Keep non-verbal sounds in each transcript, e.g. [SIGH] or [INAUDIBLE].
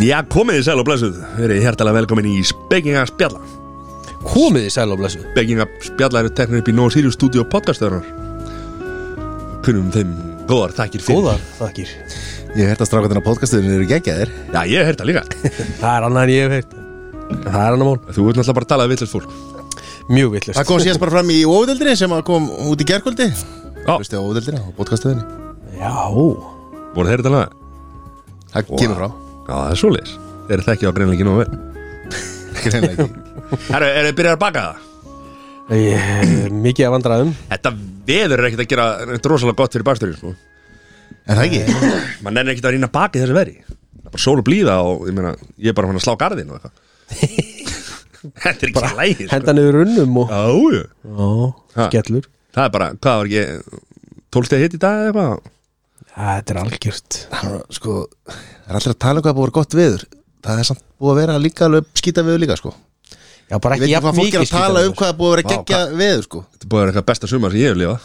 Já, komið í sæl og blessuð Verið hjertalega velkomin í Spekinga Spjalla Komið í sæl og blessu Spekinga Spjalla eru teknir upp í Nóa Sirius Studio podcastöðunar Kunnum þeim góðar þakkir fyrir Góðar, þakkir Ég hef hægt að strákatina podcastuðin eru geggjaðir Já, ég hef heyrt það líka Það er annað en ég hef heyrt Það er annað mál Þú ert náttúrulega bara að tala við villast fólk Mjög villust Það kom síðast bara fram í óvöldildri sem að kom út í gerkvöldi Já. Hlusti á óvöldildina og podcastuðinni Já, Voru þeir þetta laga? Það Vá. kemur frá Já, það er svoleiðis Þeir eru þekkið á greinleiki nú [LAUGHS] vel Greinlega ekki. Herru, eru þið byrjað að baka það? ég, mikið um. af vandræðum Þetta veður er ekkert að gera neitt rosalega gott fyrir baksturinn sko. En það ekki Man er ekkert að rýna baki þessu veri Það er bara sól og blíða og ég meina Ég er bara fann að slá garðin og eitthvað Þetta er ekki lægir sko. Henda niður runnum og Já, já. Já, Ha. skellur Það er bara, hvað var ekki 12 stegi hitt í dag eða eitthvað Þetta er algjört Það er Sko, það er allir að tala um hvað búið að vera gott veður Það er samt búið að vera líka alveg skýta veður líka sko Já, bara Ég veit ekki ekki jafn hvað fólk er að mikið tala um [LAUGHS] skítaveður. hvað er búið að vera Vá, geggja veður sko Þetta er búið að vera eitthvað besta sumar sem ég hef lifað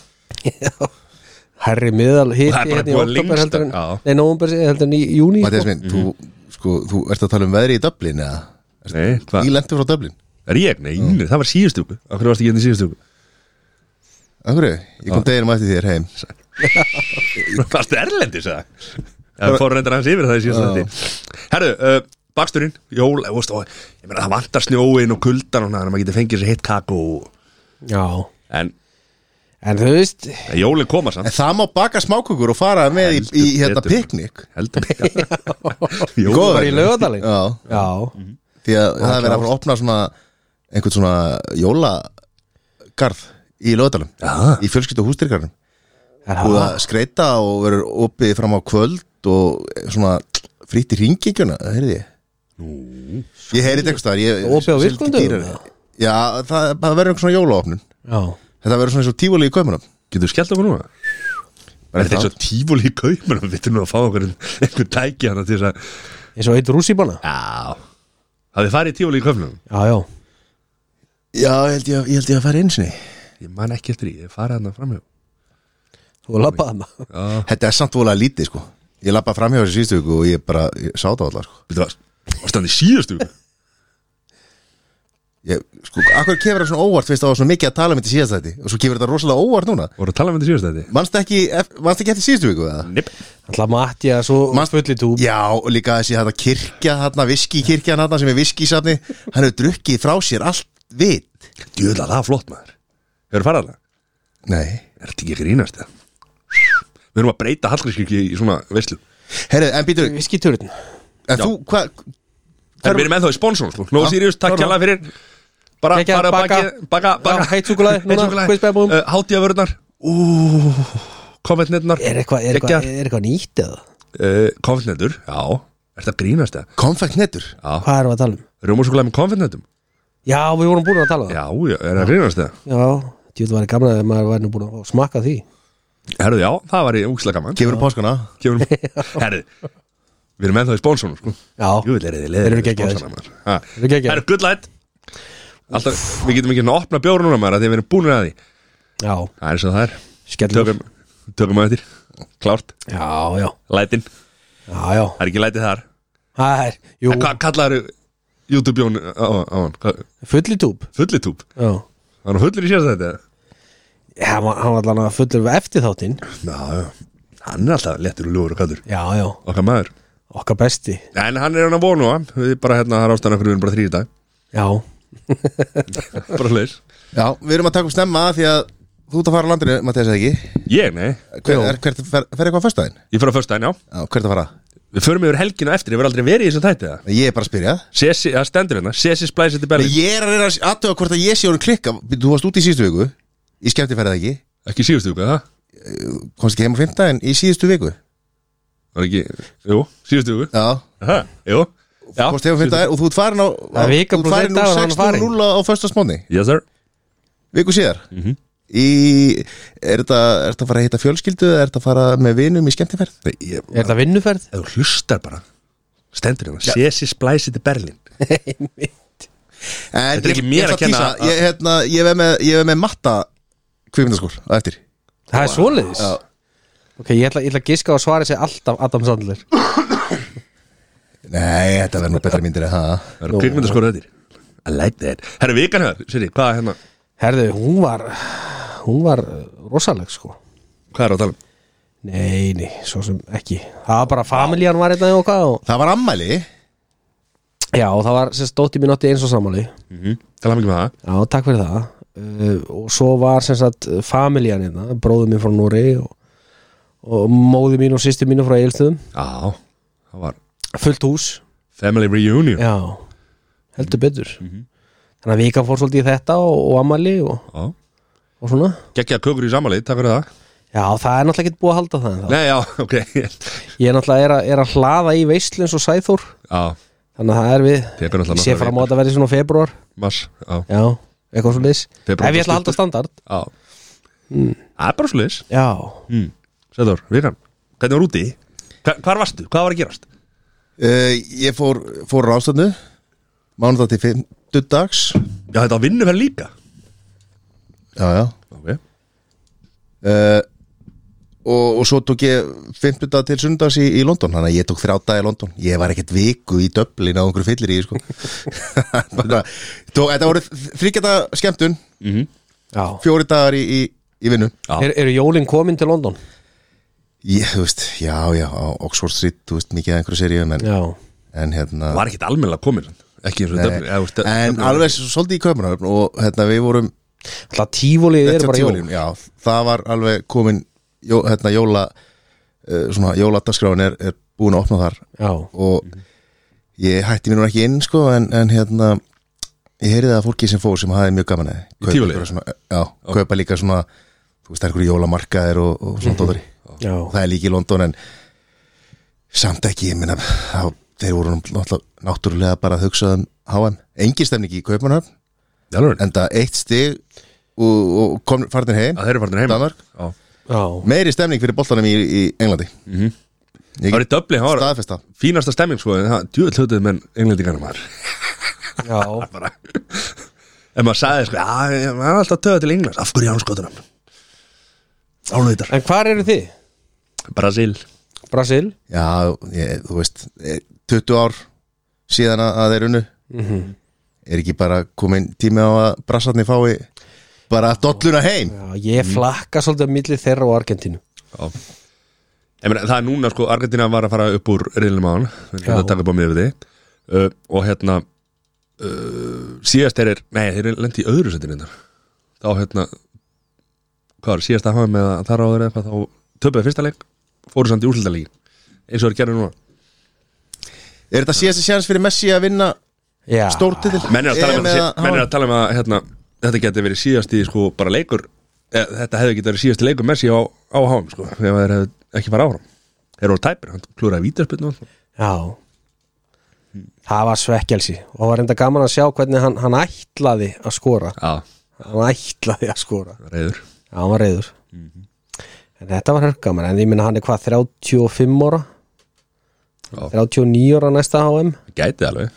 Herri miðal hitti Það er bara hérna í búið að oktober lengsta- heldur en Já. Nei, nóvumber heldur en í júni Mattias minn, þú, Mhm. sko, þú ert að tala um veðri í Dublin eða Ertu- Nei, hvað? Í lendu frá Dublin Er ég? Nei, nei, það var síðustu viku Af hverju varst ekki hérna í síðustu viku? Af hverju? Ég kom deginum eftir þér heim [LAUGHS] Varstu erlendis eða? Það fór reyndar hans yfir það í síðustu þetta Herru, uh, baksturinn, jól eh, veist, og, Ég meina það vantar snjóin og kuldan og þannig að maður getur fengið sér hitt kakó Já, En, en þú veist en jólin koma samt En það má baka smákukur og fara með í, í Heldur hérna betur. piknik Heldur [LAUGHS] Góða Jólin Bara í laugadalinn Já, Já já. því að það er verið að fara að opna svona einhvern svona jólagarð í lögadalum Já. í fjölskyldu og hústyrkarnum Er og það- að skreita og verður opið fram á kvöld og eh, svona frýtt í ringingjuna, það heyrði ég ég heyrði þetta einhvers staðar ég- Opið á seldi virkundum, dýrari. eða? já, það, það verður einhvers svona jólaopnun já. þetta verður svona eins og tífóli í kaupunum Getur skellt okkur núna? Er þetta eins og tífúli í kaupinu Við þurfum að fá okkur einhver tæki hana til þess að Eins og eitt rússíbana Já Hafið þið farið í tífúli í kaupinu? Já, já já, ég held ég, ég, held ég að fara einsinni Ég man ekki eftir því, ég farið hana framhjá Þú lappaði maður þetta er samt vola lítið sko ég lappa framhjá þessu síðustu viku og ég bara ég sá það allar sko Við þú að standi síðustu viku? Ég, sko, akkur kefur það svona óvart, veist það var svona mikið að tala um þetta í síðast þetta og svo kefur þetta rosalega óvart núna Voru að tala með þetta síðustu þetta? Manst ekki, ef- manstu ekki eftir síðustu viku eða? Nip Alltaf Matti að svo Manst- fulli túb Já, og líka þessi þetta kirkja þarna, viskikirkjan þarna sem er viskisafni Hann hefur drukkið frá sér allt vit Djöðla, það er flott maður Hefur farið hana? Nei Er þetta ekki að grínast það? Við erum að breyta Hallgrímskirkju í svona veislu Herru, en býtur, Viskiturinn en þú, hvað En við erum ennþá í sponsor sko. Nó Já, Sirius, takk klárlega. hjá fyrir Bara Kekja, farið að baka. baki- baka baka. Já, heitt súkkulaði núna, súkkulaði. kvistbæðabúðum. Eh, Hátíðavörurnar Úúúú Konfettnetnar Er eitthvað er eitthvað- er eitthvað nýtt eða? Konfettnetur, Uh, já Er þetta grínast það? Konfekt netur Já Hvað erum við að tala um? Rjómasúkulega með konfettnetum Já, við vorum búin að tala um það Já, já, er það grínast það? Já, djúðu væri gamla ef maður væri nú búin að smakka því Herðu, já, það var í úkslega gaman Kefur páskana Kemur, herðu, við erum ennþá í spónsónu sko. Já, Jú, er þið Þeir leður eru geggjaðir. eru geggjaðir. Herðu, good light Alltaf, Við getum ekki að opna bjóru núna maður af Því að við erum búinir að því já, Það er eins og það er skellur Tökum, tökum að eftir, klárt Já, já, Lætin, það já, já er ekki lætið þar Það er, jú, En hvað kallar YouTube bjón á, á hann? Hvað- fulli túb Fullitúb, Já, var hann fullur í sér þetta? Já, hann var- hann var allan að fullur eftir þáttinn Já, já, hann er alltaf lettur og ljúfur og kallur Já, já, Okkar maður okkar besti En hann er hérna hann að vonu hann Við bara hérna, það er ástæðan okkur við erum bara þrý í dag Já, [LAUGHS] Bara hleis Já, við erum að taka upp snemma því að þú ert að fara á landinu, Mattias, eða ekki Ég, nei, Hver, Jú. er, hvert, fer, fer eitthvað á föstudaginn? ég fyrir á föstudaginn, já Já, hvert að fara? Við förum yfir helginu eftir, ég verð aldrei verið í þessum þætti það Ég er bara að spyrja Sessi, það stendur hérna, Sessi splæsir til Berlín Ég er að reyna að aðtöga hvort að ég sé honum klikka Þú varst út í síðustu viku Í skemmtifærið ekki Ekki síðustu viku, það? komst ekki heim á fimmtudaginn í síðustu viku Var ekki, jú, síðustu viku Já, Aha, Jú, já komst heim á síðustu- fimmtudaginn og þú ert farin á Það er vika Þú ert plús einn dagur, hann er farin úr 16 farinn. rúla á föstasmóni Yes sir Viku síðar í, Er þetta er þetta að fara að hitta fjölskyldu eða er þetta að fara með vinum í skemmtiferð? Nei, ég, er það vinnuferð? ef þú hlustar bara Stendur hérna, Sessi splæsir til Berlín En Þetta er ég- ekki mér ég ætla að kenna tísa, að- Ég, hérna, ég er með, ég er með matta kvikmyndaskór á eftir Það er svoleiðis Ok, ég ætla, ég ætla að giska á að svara sér alltaf Adam Sandler Nei, þetta verður nú betra myndir en það Það eru kvikmyndaskóra þetta I like that Herru, vikan hér, Siri, hvað er hérna Herðu, hún var Hún var uh, rosaleg sko Hvað er á talum? Nei, nei, svo sem ekki Það var bara familjan var þetta og hvað og... Það var ammæli Já, og það var sérst dótti mín átti eins og samáli Mm Tala mikið með það Já, takk fyrir það uh, Og svo var sem sagt familjan hérna Bróður minn frá Núri og, og móður mín og sýstir mín frá Eilstöðum Já, það var Fullt hús Family Reunion Já, Já, heldur betur Þannig að vikan fór svolítið í þetta og, og amali og, Já. og svona Gekkja kökur í samalið, takk fyrir það Já, það er náttúrulega ekki búið að halda það en þá Nei, já, [LAUGHS] ok Ég er náttúrulega er að, er að hlaða í veislu eins og Sæþór Já, Þannig að það er við Febrúar náttúrulega Ég sé náttúrulega fram á að þetta verði svona februar mars Já, Já, eitthvað svo liðs Ef Febrúar ég ætla stuttur. að halda standard já Það er bara svo leis Já mm. Sæður, vikan, hvernig var úti? Hva, hvar varstu? Hvað var að gerast? uh, Ég fór, fór ráðstöfnu Mánudag til fimmtudags Já, þetta var vinnuferð líka Já, já Ok uh, og, og svo tók ég fimmtudag til sundags í, í London Þannig að ég tók þrjá dag í London Ég var ekkert viku í döblin á einhverju fyllir í sko. [LAUGHS] Bara, tók, Þetta voru þryggjata skemmtun Mhm. Já Fjóri dagar í, í, í vinnu Já. er, Eru jólin komin til London? Ég, þú veist, já, já, á Oxford Street Þú veist, mikið að einhverju seríum En, Já en hérna var ekkert almennilega komin ekki eins og Nei, Dublin- eða, þú veist, en Dublin- alveg s- svolítið í Kaupmannahöfn og hérna, við vorum Það tífólið er Þetta bara jól tívalíum, já, það var alveg komin jó, hérna, jóla uh, svona jóladaskráin er, er búin að opna þar Já og ég hætti mér nú ekki inn sko en, en hérna ég heyrði að fólki sem fór sem hafi mjög gaman að því. Kaupa tívalíi? einhverja svona- Já, kaupa líka svona þú veist það er einhverju jólamarkaðir og, og Mhm. svona dóðari Já og það er líka í London en samt ekki, ég minna þá, þeir voru náttúrulega, náttúrulega bara að hugsa um HM, engin stemning í Kaupmannhöfn Í alvöru? enda eitt stig og, og kom, farnir heim að þeir eru farin heim Danmark. Já. Já meiri stemning fyrir boltanum í, í Englandi það Mhm. var í Dublin, það var staðfesta fínasta stemming sko, en það djúið hlutuð menn englendingarna maður Já bara en maður sagði sko, að það er alltaf töða til England af hverju ánskotunum álveitar, En hvar eru þið? Brasil Brasil? já, ég, þú veist eh, 20 ár síðan að- að þeir unnu Mhm. er ekki bara komin tími á að brassarni fái bara dolluna heim Já, ég flakka svolítið að milli þeirra og Argentínu Já. Ég meina, það er núna sko, Argentina var að fara upp úr reynlum á hann, Já. þetta taka upp á mér við þið uh, og hérna uh, síðast þeir er, nei þeir lendi í öðru setjum hérna þá hérna hvað var, síðast að hafa með að þar áður eða eitthvað þá töpuði fyrsta leik, fóru samt í úrslita eins og þeir gerðu núna er þetta síðast sjans fyrir Messi að vinna Já stórtitil menn er að tala um, EM að, eða að, menn er að, tala um að hérna, þetta geti verið síðasti sko bara leikur eða, þetta hefði getið verið síðasti leikur Messi á, á háum sko, ef þeir hefði ekki fara áfram þeir voru tæpir, hann klúraði vítaspilnu Já Það var svekkelsi og það var reynda gaman að sjá hvernig hann, hann ætlaði að skora já, hann ætlaði að skora reyður Já, hann var reyður En þetta var hörgaman, en ég minna hann er hvað 35 ára Já. 39 ára næsta HM Gæti alveg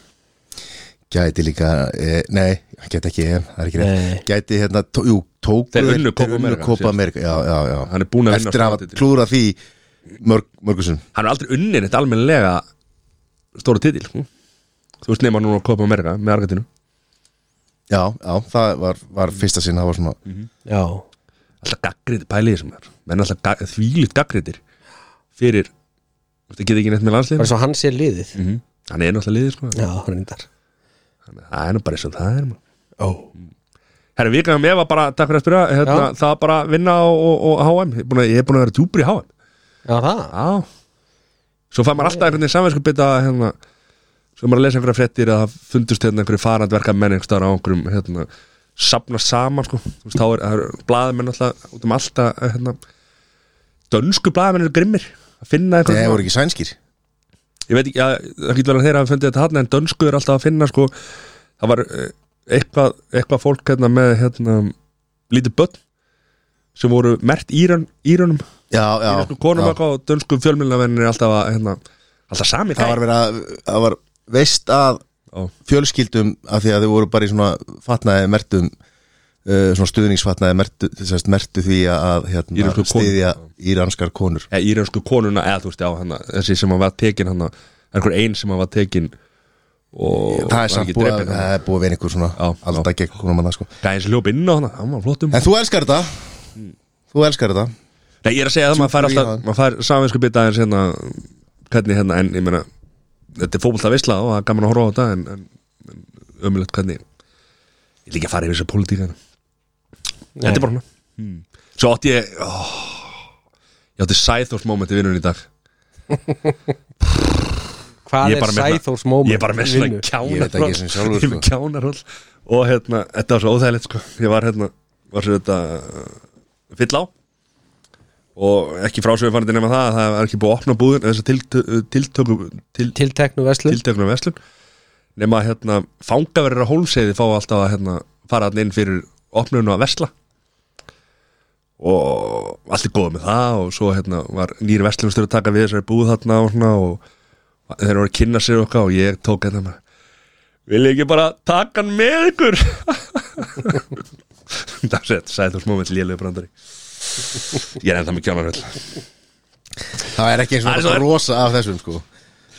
gæti líka, e, nei, gæti ekki EM, það er ekki Nei. reynd gæti hérna, tó, jú, tóku Þeir unnu Copa America Kopa síðast. Amerika já, já, já. Hann er búinn að vinna eftir að hafa stórtitil. klúra því mörg, mörgusum Hann er aldrei unnin eitt almennilega stóra titil sko. Þú veist nema núna að kopa Amerika með Argentinu já, já, það var, var fyrsta sinn það var svona, Mhm. Já, Alltaf gaggrit pæliði sem er Menn alltaf gag, þvílít gaggritir Fyrir, þú veist, það geta ekki neitt með landslið bara svo hann sé liðið mm Hann er náttúrulega liðið sko. Já, reyndar Hann- Það er nú bara eins og það er maður. Ó. Herra, vikan með var bara, takk fyrir að spyrja hérna, Það var bara vinna og, og, og HM Ég er búinn að, ég er búin að vera djúpur í HM Já, það Já Svo fær maður alltaf einhvern veginn samvegskupið bita hérna, Svo er maður að lesa einhverja fréttir að það fundust hérna einhverju farandverka menn einhverstaðar á einhverjum hérna, safna saman sko Þú veist, þá er, það er blaðamenn alltaf út um alltaf hérna, dönsku blaðamenn eru grimmir að finna nei, einhverjum voru ekki sænskir ég veit ekki, já, það getur verið að þeirra hafi fundið þetta hann en dönsku er alltaf að finna sko það var eh, eitthvað, eitthvað fólk hérna með hérna lítið börn sem voru mert írön, írönum já, já, íransku konum já. eitthvað og dönsku fjölmjölnavennin er alltaf að hérna, alltaf sami það var verið að það var veist að Já. fjölskyldum af því að þau voru bara í svona fatnaði mertum uh, svona stuðningsfatnaði mertu, sérst, mertu því að hérna, Írönsku konur. stiðja íranskar konur eða íransku konuna eða þú veist já hana, þessi sem hann var tekin hann einhver ein sem hann var tekin og það er samt búið að, hann það er búið að vera einhver svona Já, alltaf gegn konum annað sko gæði hérna. sem ljóp inn á hana, hann var flottum en þú elskar þetta Mm. þú elskar þetta Nei, ég er að segja það, maður fær Sjúkur í alltaf hann. maður fær saminsku bita aðeins hérna hvernig hérna, en ég meina þetta er fótbolta veisla og það er gaman að horfa á þetta en, en, en ömulegt hvernig ég vil ekki að fara yfir þessu pólitíkana þetta er bara hana svo átti ég ó, ég átti Sæþórs moment í vinnun í dag Hvað Ég er bara meina- Sæþórs moment? ég er bara með í svona vinnu? Ég veit ekki sem kjánarhóll sjálfur, ég er með sko. kjánarhóll og hérna, þetta var svo óþægilegt sko. ég var hérna, var svo þetta uh, fyll á og ekki frásöfum fannandi nema það að það er ekki búið að opna búðin þess að tiltöku til, Tilteknu veslu tiltökunum verslun nema að hérna, fangaverður á hólmseiði fá alltaf að hérna, fara hann inn fyrir opnun og að vesla og allt er góð með það og svo hérna, var nýri verslunastur að taka við þessari búð þarna og, svona, og þeir voru að kynna sér okkar og ég tók hérna bara, vil ég ekki bara taka hann með ykkur [LAUGHS] það er sett, sæði þú smómið lélegu brandari ég er enda með kjánarhöll það er ekki eins og Það er það svo- að brosa af þessum sko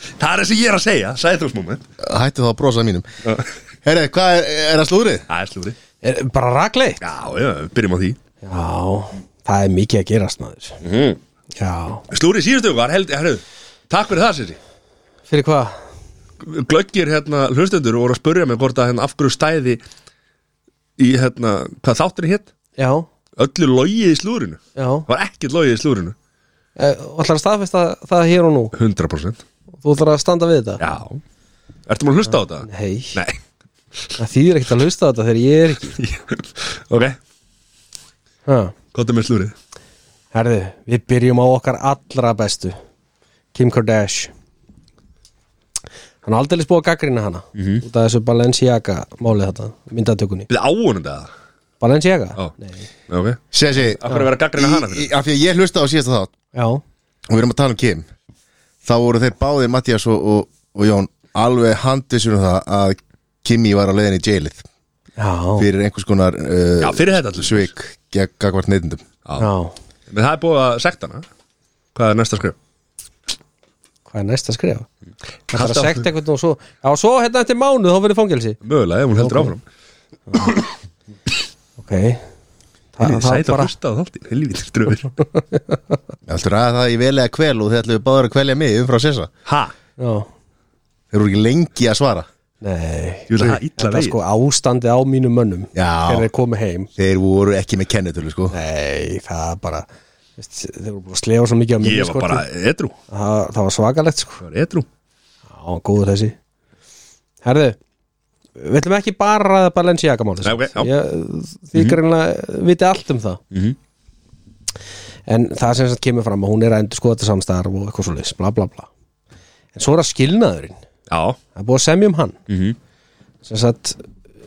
það er þessi ég er að segja, sæði þú smómið hættu þá að brosa að mínum það herri, hvað er, er það slúrið? er slúri Er Bara ragleitt? já, já, við byrjum á því Já, það er mikið að gerast maður mm. Já Slúri síðustu var held, herru, takk fyrir það Sissi Fyrir hvað? Glöggir hérna hlustendur voru að spurja mig hvort að hérna af hverju stæði í hérna, hvað þátturinn hétt Já, öllu logið í slúrinu já það var ekkert logið í slúrinu Eh, Þú ætlar að staðfesta það hér og nú 100% Þú ætlar að standa við þetta Já Ertu maður að hlusta á þetta? Hei, Nei [LAUGHS] það þýðir ekkert að hlusta á þetta þegar ég er ekki Ok, ha. hvað er með slúrið? Herðu, við byrjum á okkar allra bestu Kim Kardashian Hann er aldeilis búið að gaggrina hana Mhm. Út af þessu Balenciaga málið þetta Myndatökunni Við áunum þetta Balenciaga? Ó. Nei Ok Sessi, Af hverju vera að gaggrina hana fyrir? af því að ég hlusta á síðasta þátt Já, og við erum að tala um Kim þá voru þeir báðir Mattias og, og, og Jón alveg handvisur um það að Kimi var á leiðin í jailið já, fyrir einhvers konar uh, Já, fyrir þetta allir svik gegn gagvart neytendum já Men það er búið að sekta hana Hvað er næsta skrif? Hvað er næsta skrifa? Það er að Alltaf- sekta eitthvað og svo Já, svo hérna eftir mánuð þá verður fangelsi Mögulega, ef hún heldur áfram Ok Það, það er Sæta að bara hlusta á þáttin, helvítið ströfur [LAUGHS] Þú ræða það í vel eða kvel og þeir ætluðu báður að kvelja mig umfrá sessa Ha? Já, þeir voru ekki lengi að svara nei Ég vil að það illa Þetta er vegið sko ástandi á mínum mönnum Já. Þegar þeir komi heim þeir voru ekki með kennitölu sko Nei, það er bara veist, Þeir voru búin að slefa svo mikið á Ég sko, var minniskortið. bara edru, það, það var svakalegt sko ég var edru Já, góður þessi Herðu, við ætlum ekki bara að ræða Balenciaga málið sko. Nei, ok, já. Ég- Þið greinlega viti allt um það Mhm. En það sem sagt kemur fram að hún er að endur skoða þetta samstarf og eitthvað svo leys, bla bla bla En svo er að skilnaðurinn Já, Það er búið að semja um hann Mhm. Sem sagt,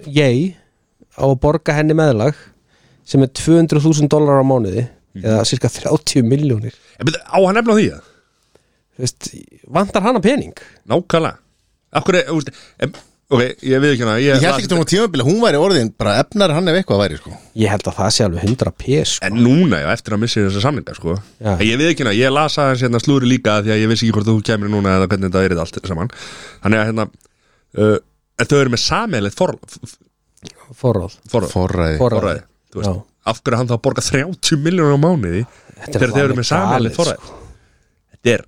ég á að borga henni meðlag sem er 200.000 dólar á mánuði Mhm. eða cirka 30 miljónir en byrja, á hann efna á því að Vantar hana pening? Nákvæmlega Akkur er, úst, en, ok, ég við ekki hana Ég, ég held ekki tónum tímabili, hún væri orðin bara efnar hann ef eitthvað væri sko Ég held að það sé alveg sko, 100 PS En núna, já, eftir að missa þessa samlinga, sko Já. En ég við ekki hana, ég las aðeins hérna slúri líka Því að ég vissi ekki hvort þú kemur núna eða hvernig þetta er allt saman Þannig að hérna uh, En þau eru með sameiglegt forráð Forróð Forráð Forræði. forræði, Forræði, þú veist Já. Af hverju er hann þá að borga 30 miljónur á mánuði Þegar þau eru með sameiglegt forræði Þetta er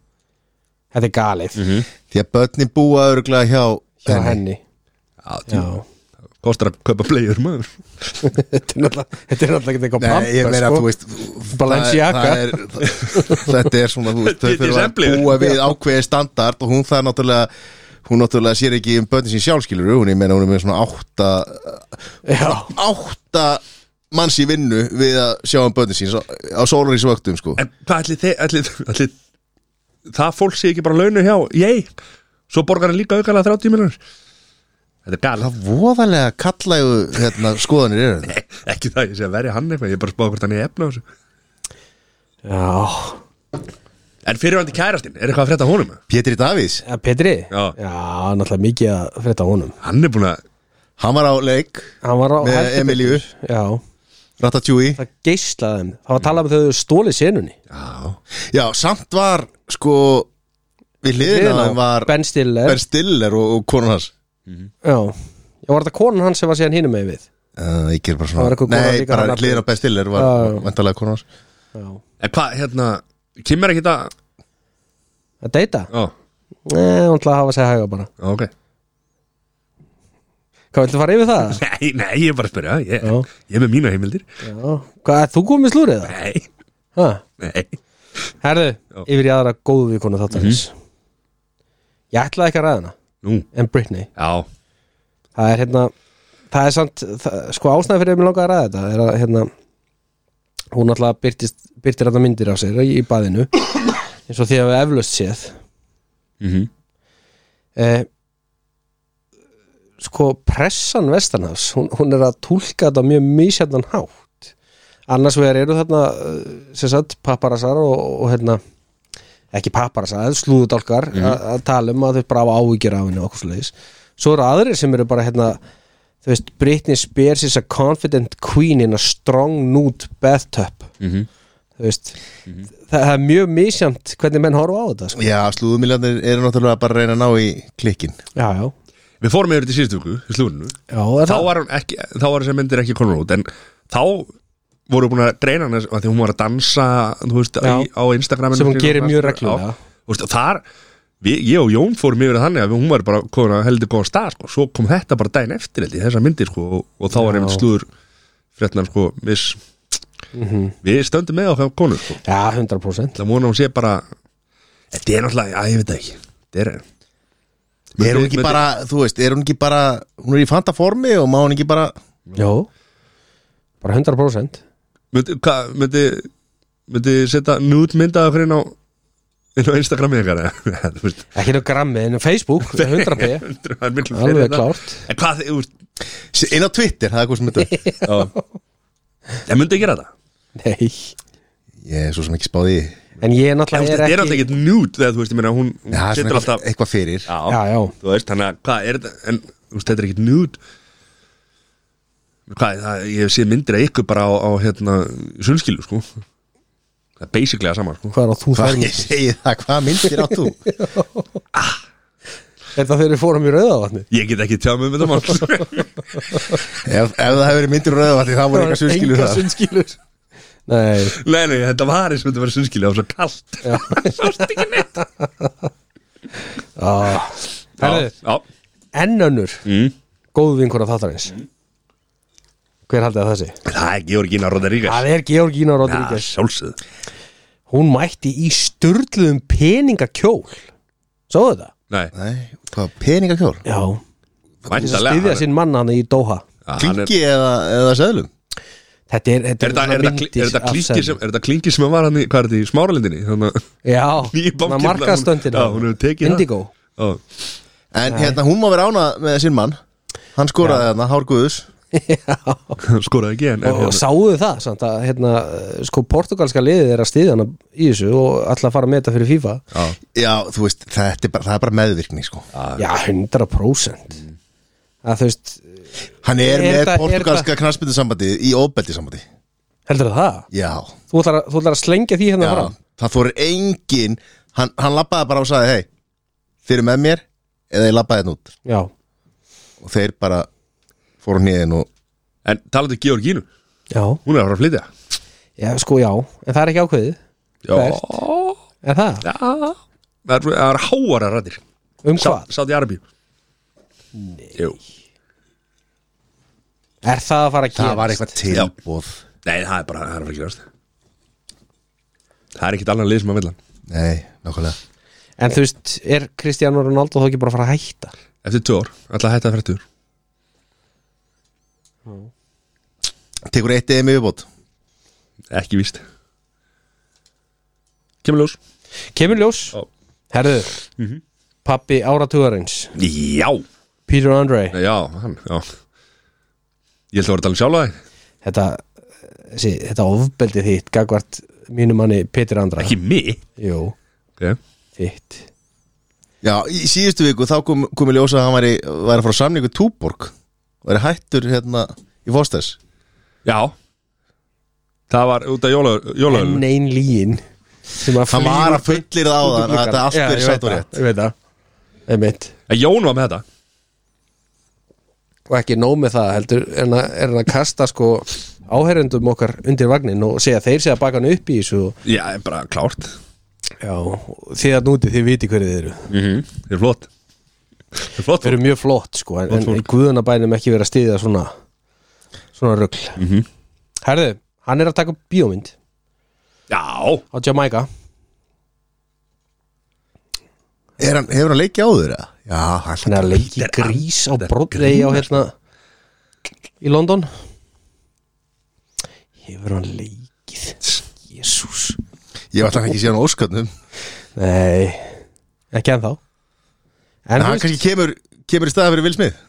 Þetta er galið því að börnin búa örgulega hjá, hjá henni Já, Já. djú, [LAUGHS] kostar að kaupa playur maður Þetta er náttúrulega þetta er náttúrulega ekki eitthvað Nei, ég pampa, meina, sko. þú veist Balenciaga. það er- [LAUGHS] það er- Þetta er svona, þú veist Þau Þetta er fyrir að semblíður. búa við ákveði standard og hún það er náttúrulega hún náttúrulega sér ekki um börnin sín sjálfskilur hún, ég meina, hún er með svona átta Já, átta manns í vinnu við að sjá um börnin sín svo- á sólarins vöktum, sko En hvað ætli þið, ætli, ætli það fólk sé ekki bara launu hjá, ég svo borgar hann líka aukalega 30 miljonur Þetta er galið, Það voðalega kallægu hérna, skoðanir eru þetta ekki það ég sé að verja hann eitthvað, ég er bara að spá hvort hann er efna á þessu já En fyrirvændi kærastinn, er eitthvað að frétta af honum? Pétri Davís, Ja, Eh, Petri? Já. náttúrulega mikið að frétta af honum Hann er búin að hann var á leik Hann var á Með heldur Emilíu. betur. Já, Ratatjúi það geislaði þeim Það var að tala um þau þau stólið senunni Já, Já, samt var sko Við hliðina Hliðina á hann var Ben Stiller Ben Stiller og, og konun hans Já, já var þetta konan hans sem var síðan hinum með við uh, Ég ger bara Það var einhver svona kona Nei, líka bara þarna. hliðina á Ben Stiller var Já, já. uh, vantarlega konun hans Já, en hvað, hérna Kim er ekki það að deyta? Já, Nei, hún ætlaði að hafa sig að hæga bara já, ok Hvað, viltu fara yfir það? Nei, nei, ég er bara að spyrja Ég, Já. ég er með mína heimildir Já, hvað, ert þú komið slúrið það? Nei, Ha? nei Herðu, Já. yfir í aðra góðu vikonu þáttarins Ég ætlaði ekki að ræða hana Nú, En Britney, já, það er hérna Það er samt, það, sko ástæði fyrir að mér langaði að ræða þetta er að hérna Hún alltaf byrtist, byrtir þetta myndir á sér í baðinu eins og því að við eflaust séð mm eh, sko pressan vestanhafs hún, hún er að tólka þetta á mjög misjöndan hátt annars vegar eru þarna eh, sem sagt papparasar og, og hérna ekki papparasar, slúðudálkar mm að tala um að þau bara hafa áhyggjur af henni og okkur svoleiðis svo eru aðrir sem eru bara hérna þú veist, Britney Spears is a confident queen in a strong nude bathtub Mhm. þú veist það, það er mjög misjönd hvernig menn horfa á þetta sko. Já, slúðumiljarnir eru náttúrulega bara að reyna að ná í klikkin já, já, Við fórum yfir til síðustu viku, í slúrinu já er Þá það- var, hún ekki, þá var þessi myndir ekki konar út En þá voru búin að greina hann Því hún var að dansa, þú veist, Já. í, á Instagraminu Sem hún gerir mjög Já. reglulega. Þú veist, og þar, við, ég og Jón fórum yfir þannig að hún var bara komin að heldur góðan stað sko. Svo kom þetta bara daginn eftir held ég, þessar myndir sko, og, og þá var Já. einmitt slúður Fréttnar, sko, við, Mhm. við stöndum með okkar konur sko. Já, 100% Það múna hún sé bara Þetta er náttúrulega, að ég veit það ekki Þetta er Er hún ekki bara, þú veist, er hún ekki bara Hún er í fanta formi og má hún ekki bara Jó Bara 100% myndi, hvað, myndi, myndi setja nude mynda okkur inn á inn á Instagrami ykkar eða? [LAUGHS] Þú veist, Ekki nú grammið, en Facebook 100% það er miklu en Alveg það. klárt En hvað, þið- þú veist, Inn á Twitter, það er eitthvað sem [LAUGHS] þetta en myndi ekki gera það Nei Ég er svo sem ekki spáði í En ég En þú veist, náttúrulega Þetta er er ekki alltaf ekkert nude þegar þú veist, ég meina hún, hún Já, setur svona alltaf eitthvað, eitthvað fyrir Já, Já, já þú veist, þannig að hvað er þetta en þú veist, þetta er ekkert nude hvað, það, ég sé myndir að ykkur bara á, á hérna, sunnskilu, sko það er basically að sama, sko Hvað er á þú Hvað þær ég segi það, hvað myndir á þú? [LAUGHS] Þetta þegar við fórum í rauðavatni Ég get ekki tjáð mig með það mál [LAUGHS] Ef, ef það hefur verið myndir úr rauðavalli þá voru eitthvað sunnskilur það sunnskilur Nei Nei, nei, þetta var eins og þetta var sunnskili Það var svo kallt [LAUGHS] ah. Herðu, já, enn önnur Mm. Góðu vinkona þáttarins Hver haldið að það sé? Það er Georgina Rodríguez Það er Georgina Já, Rodríguez sjálfsögð Hún mætti í styrluðum peningakjól Sáðu þetta? Nei, Nei, hvað, peningakjól? Já Þess að væntanlega styðja hann- sinn mann hann í Doha Já, hann er- Klingi eða, eða söðlum? Þetta er, þetta Er þetta- er svona þetta kli- er þetta af klingi senu. sem er þetta klingi sem var hann í, hvað er þetta, í smáralindinni Hérna, þannig að Já, nýju bankinn hún- markastöndin Já, hún hefur tekið Indigo [LAUGHS] það Já. En hérna, hún má vera ánað með sinn mann Hann skoraði þarna, Hár Guðus [LAUGHS] Skoraði ekki en, en Og hérna- sáuðu það samt að hérna, eh, sko, portugalska liðið er að styðja hana í þessu og ætla að fara með þetta fyrir FIFA Já, þú veist, þetta er bara, það er bara meðvirkni sko. Já, 100% að þú veist, Hann er, Er með þetta- er portugalska knarsbyndisambandi í óbældisambandi heldur það? Já, Þú ætlar, að, þú ætlar að slengja því hérna já fram Það þóri engin Hann, hann lappaði bara og sagði, hei Þeir eru með mér, eða ég lappaði hérna út Já, Og þeir bara fóru hnýðin og en talandi um Georgínu já, Hún er að fara að flytja já, sko já En það er ekki ákveðið, Já, Hvert? er það? já Það er- það er háara rættir Um hvað? Sátt í Arabíu Jú. Er það að fara að það gerast? var eitthvað tilbúð Nei, það er bara, það er bara ekki ræst Það er ekkit annan lið sem að vilja hann Nei, nákvæmlega En þú veist, er Cristiano Ronaldo þá ekki bara að fara að hætta? Eftir tvö ár, alltaf hætta að frættur Tekur eitt eða mjög bót Ekki víst Kemur ljós Kemur ljós? Já. Mhm. Herðu, pappi áratugarins Já, Peter Andre já, hann, já Ég held að voru að tala um sjálfa þig Þetta, þessi, þetta ofbeldi þitt gagvart mínu manni Peter Andre Ekki mig Jú, ok Þitt Já, í síðustu viku þá kom, kom í ljósa að hann væri, væri að fara á samningu Túborg væri hættur hérna í Fosters Já Það var út af En jólaugum ein líin sem að Hann flýgur var að fullir það á út úr það að þetta glugganum. allt Já, ég verið veit satt og það, rétt Ég veit það Einmitt. En Jón var með þetta Og ekki nóg með það heldur er hann að, er hann að kasta sko áherrendum okkar undir vagnin og segja þeir segja baka hann upp í þessu og, Já, bara klárt Já, og þið að núti þið viti hverju þið eru mm -hmm. Það er flott Það er flott Þeir eru mjög flott sko en, en fólk. í guðunabænum ekki vera að stiða svona svona rugl Mhm. Herðu, hann er að taka upp bíómynd Já, á Jamaica Er hann, hefur hann leikið áður eða? Já, hann hann er að leiki grís á Broadway á hérna í London hefur hann leikið Jésús Ég var alltaf ekki síðan á óskarnum nei, ekki ennþá en En hann þú veist, kannski kemur, kemur í staða fyrir Vilsmið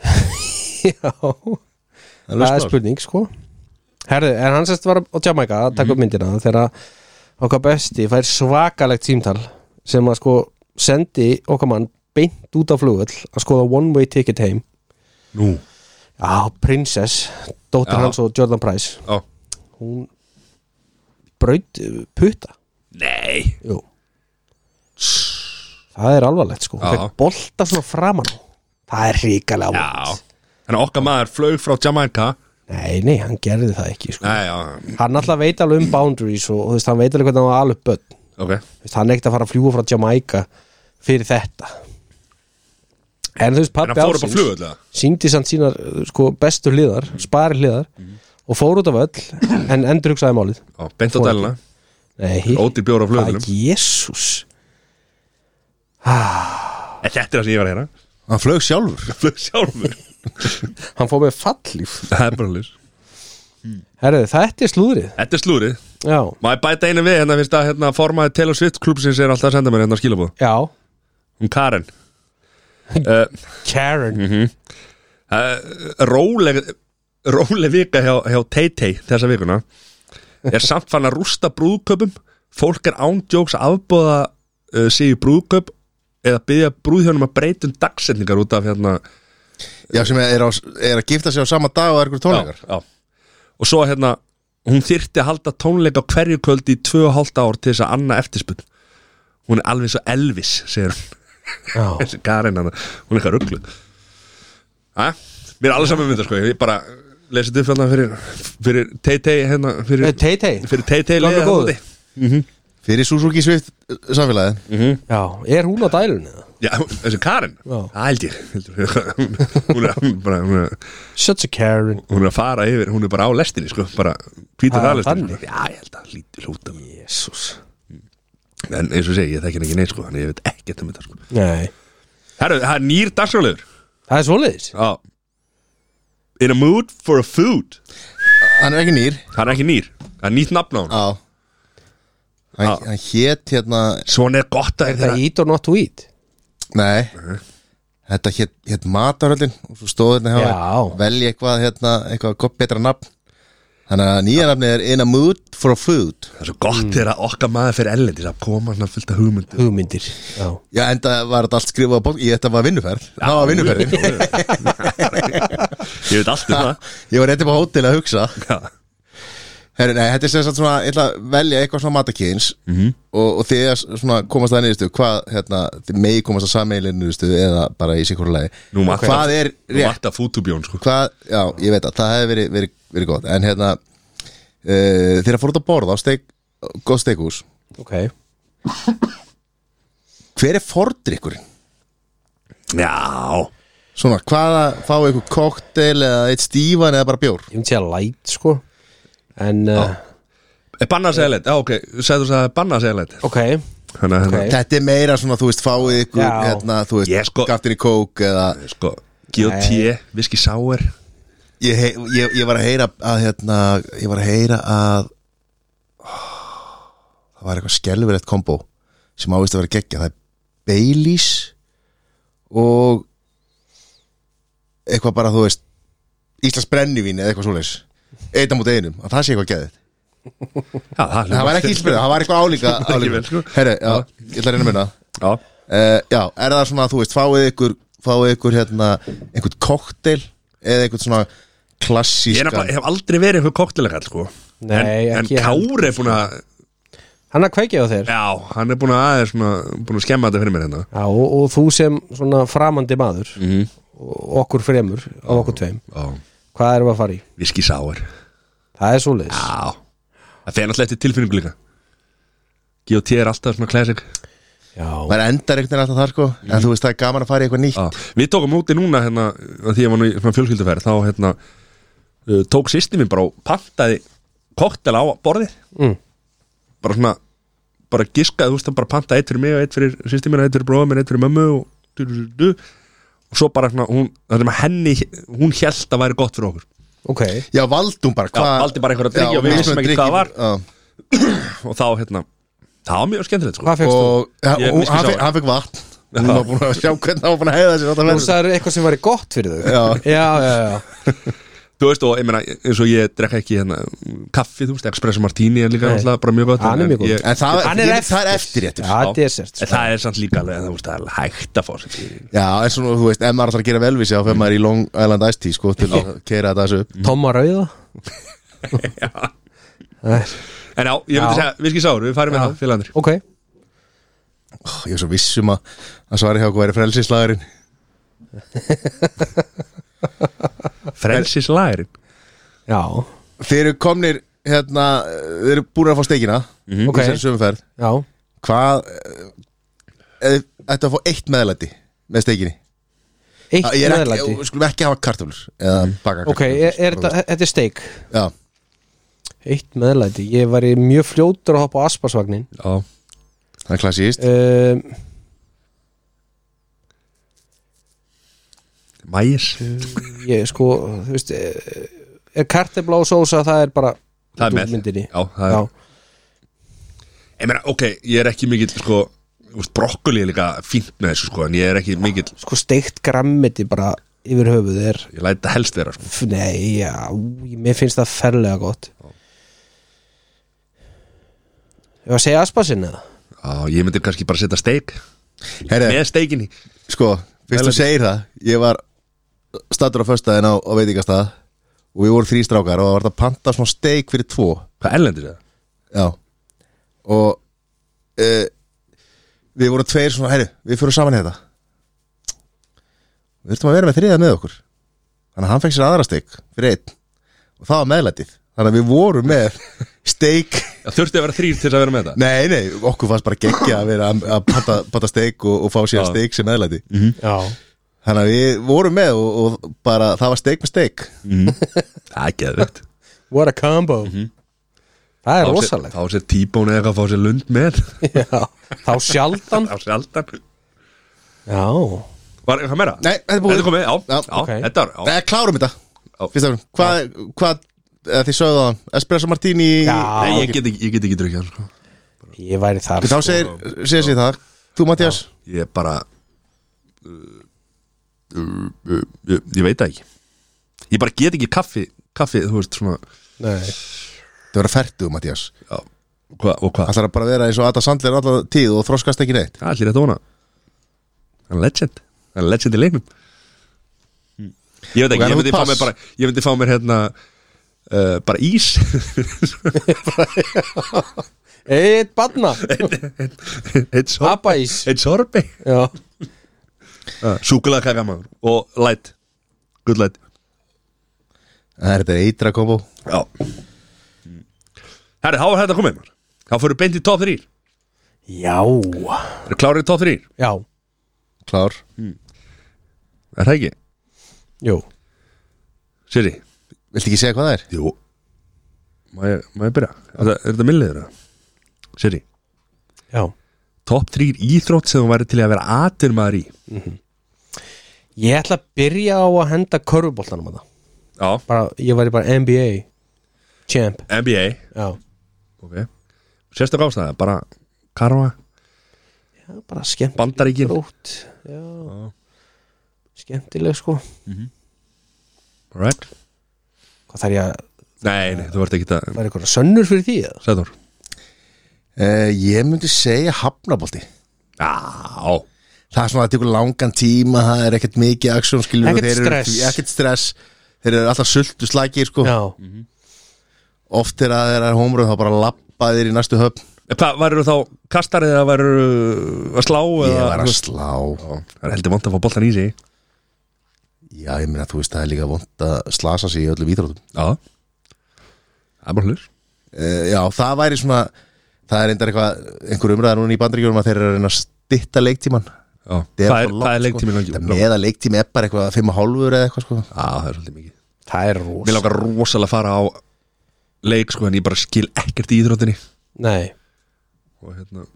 [LAUGHS] já það er spurning sko Herðu, en hann sérst var á Jamaica að taka upp myndina þegar okkar besti fær svakalegt símtal sem að sko sendi okkar mann beint út á flugvöll að skoða one way ticket heim nú já, prinsess, dóttir Já. hans og Jordan Price Já. hún braut uh, putta Nei Jú. það er alvarlegt sko Já. hún fekk bolta svona framan á. það er ríkalega Já vond Þannig að okkar maður flög frá Jamaica nei, nei, hann gerði það ekki sko. Nei, já, hann alltaf veit alveg um boundaries og, og þú veist, hann veit alveg hvernig hann var alveg börn ok Þú veist, hann er ekkert að fara að fljúa frá Jamaica fyrir þetta en þú veist, En pappi hann fór upp á ársins- flug alltaf síndi samt sínar uh, sko, bestu hliðar, spari hliðar og fór út af öll en endur hugsaði málið Já, beint á Fór dæluna Nei, Ódýr bjór á flugvöllunum jésús En þetta er það sem ég var að hérna Hann flög sjálfur Flug sjálfur Hann fór með falllíf [LAUGHS] Það er bara hlust Herðu, þetta er slúðrið Þetta er slúrið Já, Má ég bæta einu við hérna finnst að hérna formaði Taylor Swift klubsins er alltaf að senda mér hérna skilabóð já Um Karen uh, Karen eh, Róleg Róleg vika hjá, hjá Tay-Tay þessa vikuna Er samt fann að rústa brúðköpum Fólk er ándjóks að afbóða uh, sig í brúðköp eða byggja brúðhjónum að breyta um dagsetningar út af hérna Já, sem er, á, er að gifta sig á sama dag og er ykkur tónleikar já, já. og svo hérna hún þyrfti að halda tónleika á hverju kvöldi í tvö og hálft ár til þess að anna eftirspunn hún er alveg svo Elvis segir hún, Já, þessi Karin hana, hún er eitthvað rugglu Æ, mér er alveg saman mynda sko ég bara lesi þetta upp hérna fyrir fyrir Tay-Tay hérna Eh, fyrir Tay-Tay fyrir Tay-Tay Gamla liðið góða. þarna úti. Fyrir Suzuki Swift uh, samfélagið Já, er hún á dælunni? eða? Já, þessi Karin, Já. það held ég [LAUGHS] heldur. hún hún er, hún, bara, hún, er, Such a Karen hún er að fara yfir hún er bara á lestinni sko, bara hvítur Það er aðlestinni þannig. sko. já, ég held að lítið hlúta Jésús En eins og segi, ég þekki hann ekki neitt sko Þannig ég veit ekkert um þetta sko Nei Herru, það er nýr dagsrálegur Það er svoleiðis Já In a mood for a food Hann er ekki nýr Það er ekki nýr, það er nýtt nafn á hann Já Já. Hann, hann hét hérna Svona er gott að Er það þeirra eat or not to eat? Nei Þetta hét, hét mataröllin og svo stóð hérna hjá Já. mér, velji eitthvað hérna, eitthvað gott betra nafn Þannig að nýja nafni er In a Mood for a Food Það er svo gott Mm. þeirra okkar maður fyrir ellendis að koma svona fullt af hugmyndu Hugmyndir Já Já, enda var þetta allt skrifað á bók Ég þetta var vinnuferð, það [LAUGHS] var vinnuferðin Ég veit allt um það Ég var eitthvað á hótel að hugsa Já. Herru, nei, þetta er sem sagt svona, ég ætla að velja eitthvað svona matakýns Mhm. -hmm. og, og þið að svona komast að niðurstu, hvað, hérna, þið megi komast að sameilin niðurstu eða bara í sikkur lagi. Nú vantar- Hvað er Þú rétt? vart að fútubjón sko Hvað, já, ég veit að það hefði verið, verið, verið gott, en hérna, uh, þeir að fór út að borða á steik, gott steikús, Ok hver er fordrykkurinn? Já Svona, hvaða, fá eitthvað koktel eða eitt stífan eða bara bjór? Ég myndi segja light sko En uh, Er Bannað að segja leitt, já ok, segðu þess að það er bannað að segja leitt Ok Þannig að hérna, Ok. Þetta er meira svona, þú veist, fáið ykkur, Já. hérna, þú veist, Ég sko- gaftin í kók eða... sko, G.O.T. Viski Sauer ég, hei- ég, ég var að heyra að hérna, ég var að heyra að það var eitthvað skelverett kombo sem ávist að vera geggja, það er Baileys og eitthvað bara þú veist Íslands brennivín eða eitthvað svoleiðis einn á mútið einum, að það sé eitthvað geðið Já, það það var ekki spyrða, það var eitthvað álíka, [LAUGHS] Ekki vel, sko. álíka. Herri, já, ég ætla að reyna að muna Já, uh, Já, er það svona, þú veist, fáið ykkur fáið ykkur hérna, einhvern koktel eða einhvern svona ég er klassískan nefnilega- ég hef aldrei verið einhver koktelega sko. Nei, en, en ekki Kári er búin að hann að kveikja á þér já, Já, hann er búin að aðeins svona, búin að skemma þetta fyrir mér hérna og, og þú sem svona framandi maður Mhm. mm. okkur fremur á okkur tveim Já, hvað erum við að fara í? viski sáir það er svoleiðis Já, það fer alltaf eftir tilfinningu líka G.O.T. er alltaf svona classic já, maður endar einhvern veginn alltaf þar sko en þú veist, það er gaman að fara í eitthvað nýtt Mhm. Já, Við tókum úti núna hérna að því ég var nú í svona fjölskylduferð þá hérna uh, tók sýsti mín bara og pantaði koktel á borðið Mm. bara svona bara giskaði, þú veist, hann bara pantaði eitt fyrir mig og eitt fyrir sýsti mín og eitt fyrir bróða minn, eitt fyrir mömmu og du, du, du, du. og svo bara svona, hún, það sem að henni hún held að væri gott fyrir okkur ok Já, valdum bara Já, hvað valdi bara einhverja drykki Já, og við vissum mismunandi ekki hvað drykki, já. og þá hérna, það var mjög skemmtilegt sko. hvað fegst þú? Og ja, Ég er og miski hann sár. fekk- hann fekk vatn Hún var búin að sjá hvernig hann var búin að heiða sér þú alltaf verið. sagðir eitthvað sem væri gott fyrir þau Já. [LAUGHS] já, já, já, þú veist og ég meina eins og ég drekka ekki hérna kaffi þú veist espresso martini er líka Nei. alltaf bara mjög gott Hann er en mjög góður. ég- En það, Hann er ég, eftir. það er eftir réttur já, desert en sko. það er samt líka alveg þú veist það er alveg hægt að fá sér í- Já, en svona, þú veist, ef maður ætlar að gera velvísi þá fyrir maður í Long Island Ice Tea, sko, til [LAUGHS] að keira þetta þessu upp Tomma [LAUGHS] Rauða Já. Nei. en já ég Já. myndi segja viski sáru við hérna farum með það félagandir ok, Ó, Ég er svo vissum að, að svari hjá okkur væri frelsislagurinn frelsis lærin já, Þeir eru komnir, hérna, þeir eru búin að fá steikina Mhm. Ok. Í þessari sömumferð já Hvað, eða ættu að fá eitt meðlæti með steikinni eitt Ég er ekki, meðlæti við skulum ekki hafa kartöflur Eða baka Mm. ok, er, er þetta, þetta er steik Já, eitt meðlæti, ég væri mjög fljótur að hoppa á Aspasvagnin já það er klassíst um, mæs ég sko, þú veist eh, er kartebla og sósa, það er bara það er út úr með myndinni. já það já, er ég meina ok ég er ekki mikill sko þú veist, brokkoli er líka fínt með þessu sko en ég er ekki mikill sko steikt grammiti bara yfir höfuð er ég læt það helst vera sko f- nei, já, ú, mér finnst það ferlega gott ég var að segja Aspasin eða já ég myndi kannski bara setja steik Herre, með steikinni Sko, fyrst þú Melody. segir það Ég var stattur á föstaðin á, á veitingastað og við vorum þrý strákar og það var þetta að panta svona steik fyrir tvo hvað erlendir það Já Og e, Við vorum tveir svona, herri, við fyrir saman í þetta Við þurftum að vera með þriða með okkur Þannig að hann fekk sér aðra steik fyrir einn og það var meðlætið Þannig að við vorum með [LAUGHS] steik Já, þurfti að vera þrýr til þess að vera með þetta Nei, nei, okkur fannst bara geggja að vera að- að panta, panta steik og, og fá sér Já. steik sem meðlæti Mhm. já, Þannig að við vorum með og, og bara það var steik með steik Það er geðvikt what a combo það er rosalegt Mhm. Þá sér tíbón eða eitthvað að fá sér lund [LAUGHS] með [LAUGHS] já, þá sjaldan Þá sér aldan já, Var eitthvað meira? Nei, þetta er búið Þetta er komið, já, já, Já, ok. þetta var já. Nei, klárum þetta Já. Fyrst af hverju, Hvað, hvað, eða þið sögðu það Espresso Martini Já. Nei, ég get ekki, ég get ekki drukkið hann, sko. ég væri þar Þá sko. segir, segir sér það Þú Mattias Ég er bara uh, uh, uh, ég, ég veit það ekki Ég bara get ekki kaffi Kaffi, þú veist, svona Nei. Það verður færtug Mattias já, hva, Og hvað? Það er bara að vera eins og Ada Sandler allar tíð og þroskast ekki neitt Það er allir þetta vona Hann er legend Hann er legend í leiknum Hmm. Ég veit Ok, ekki, en ég þú myndi fá pass. mér bara Ég myndi fá mér hérna uh, Bara ís [LAUGHS] eitt badna, Eitt sorp pappais Eitt sorpi já Ah. Súkulega kaka maður Og light Good light Það er þetta eitra kombo Já Herri, þá er þetta komið maður Þá fyrir beint í top 3 Já Það er klárið í top 3 Já, Klár Er það ekki? jú Siri Viltu ekki segja hvað það er? Jú Má ég, má ég byrja? Er, það, er þetta milliður? Siri Já Top 3 íþrótt sem þú væri til í að vera atur maður í Ég ætla að byrja á að henda körfuboltanum að það Já bara, Ég væri bara NBA Champ NBA Já, Ok Sérstök ástæða Bara karfa Já bara skemmt Bandaríkin Rót Já, Skemmtileg sko Alright Hvað þarf ég að Nei, nei, þú vart ekki það Það er eitthvað sönnur fyrir því eða? Sæður Eh, Ég myndi segja hafnabolti Já, Það er svona að tekur langan tíma Það er ekkert mikið aksjón skilur Ekkert stress. Ekkert stress Þeir eru alltaf sultu slækir sko Já, Oft er að þeir eru hómröð þá bara lappa þeir í næstu höfn En Hvað, varir þá kastarið eða varir að slá? Ég eða- var að slá Það er heldur vant að fá boltan í sig Já, ég meina, þú veist, það er líka vond að slasa sig í öllum íþrótum Já Það er bara hlur uh, Já, það væri svona Það er endar eitthvað, einhver umræða núna í bandryggjum að þeir eru að reyna að stytta leiktíman Já, hvað er, hvað er leiktími langi? Sko. Með að leiktími er bara eitthvað 5,5 eða eitthvað sko Já, það er svolítið mikið það er Mér rosa langar rosalega að fara á leik sko en ég bara skil ekkert í íþróttinni Nei, og hérna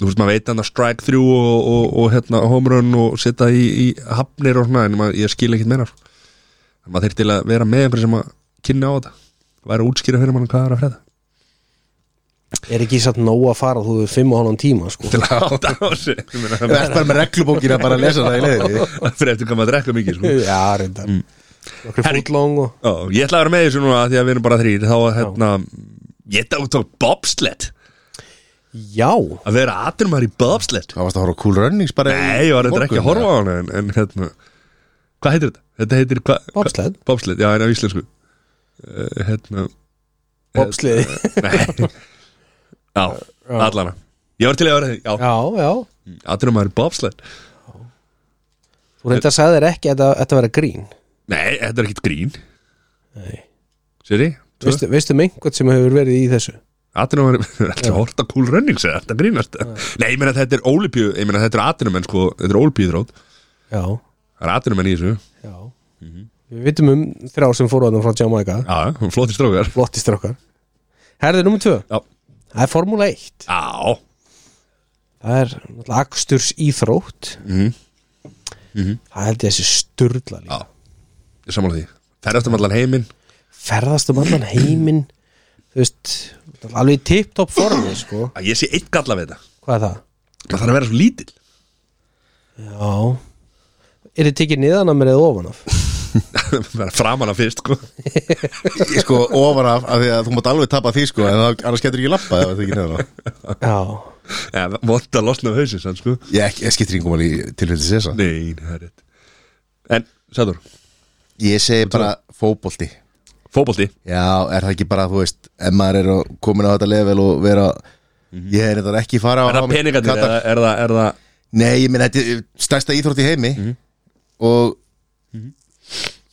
þú veist maður veit hann að strike þrjú og, og, og hérna home run og setja í, í hafnir og svona en maður, ég skil ekkert meira sko. en maður þeir til að vera með einhver sem að kynna á þetta væri að útskýra fyrir mann hvað er að er ekki satt nóg að fara þú er fimm og hálfan tíma sko freda Það [LAUGHS] er bara með reglubókina bara að lesa það í leiðinni fyrir eftir hvað maður drekka mikið sko. [LAUGHS] Já, reyndar Okkur fútlóng og Já, ég ætla að vera með þessu núna af því að við erum bara þrýr þá að hérna ég tók, tók bobsled Já, að vera atrumar í bobsled Hvað varst að horfa á Cool Runnings bara í- Nei, ég var í þetta ekki að morgun, horfa á hana en, en hérna, hvað heitir þetta? Þetta heitir hva? Bobsled. Bobsled, já, en á íslensku uh, Hérna, [LAUGHS] bobsliði nei Já, allana Ég var til að vera því, já, Já, já aðurum maður bobsled Þú reyndar að sagði þér ekki að þetta- þetta verið grín Nei, þetta er ekkit grín Nei. Séri, Veistu, veistu með einhvern sem hefur verið í þessu? aðurum maður [LAUGHS] Þetta er horta cool running, segja, þetta grínast Nei, ég meina þetta er ólipíu, ég meina þetta er aðurum menn sko, þetta er ólipíuðrót Já, Það er aðurum menn í þessu, já Við vitum um þrjá sem fóru þarna frá Jamaica já, hún flótti strókar Flottist okkar Herði nummer tvö Já, Það er Formúla 1 já, Það er náttúrulega aksturs íþrótt Mhm. Það held ég að þessi sturla líka já Ég sammála því Ferðast um allan heiminn Ferðast um allan heiminn Þú veist, alveg í tipptopp formi sko. að ég sé eitt galla við þetta Hvað er það? maður þarf að vera svo lítill Já Er þið tekið niðan af mér eða ofan af? [LAUGHS] vera framan af fyrst sko. Ég sko ofan af, af því að þú mátt alveg tapa því sko En það annars getur ekki lappa ef það ekki nefnir Já ja, vonda að losna af hausins hann, sko. Ég, ekki- ég skiptir yngum alveg í tilfelli þess að nei, það er rétt en, Sæður, Ég segi bara fótbolti fótbolti Já, er það ekki bara, þú veist, ef maður er að- komin á þetta level og vera Ég er þetta ekki fara á Mhm. er það peningarnir, Katar. eða er það, er það Nei, ég minn, þetta er stærsta íþrótt í heimi Mhm. Og,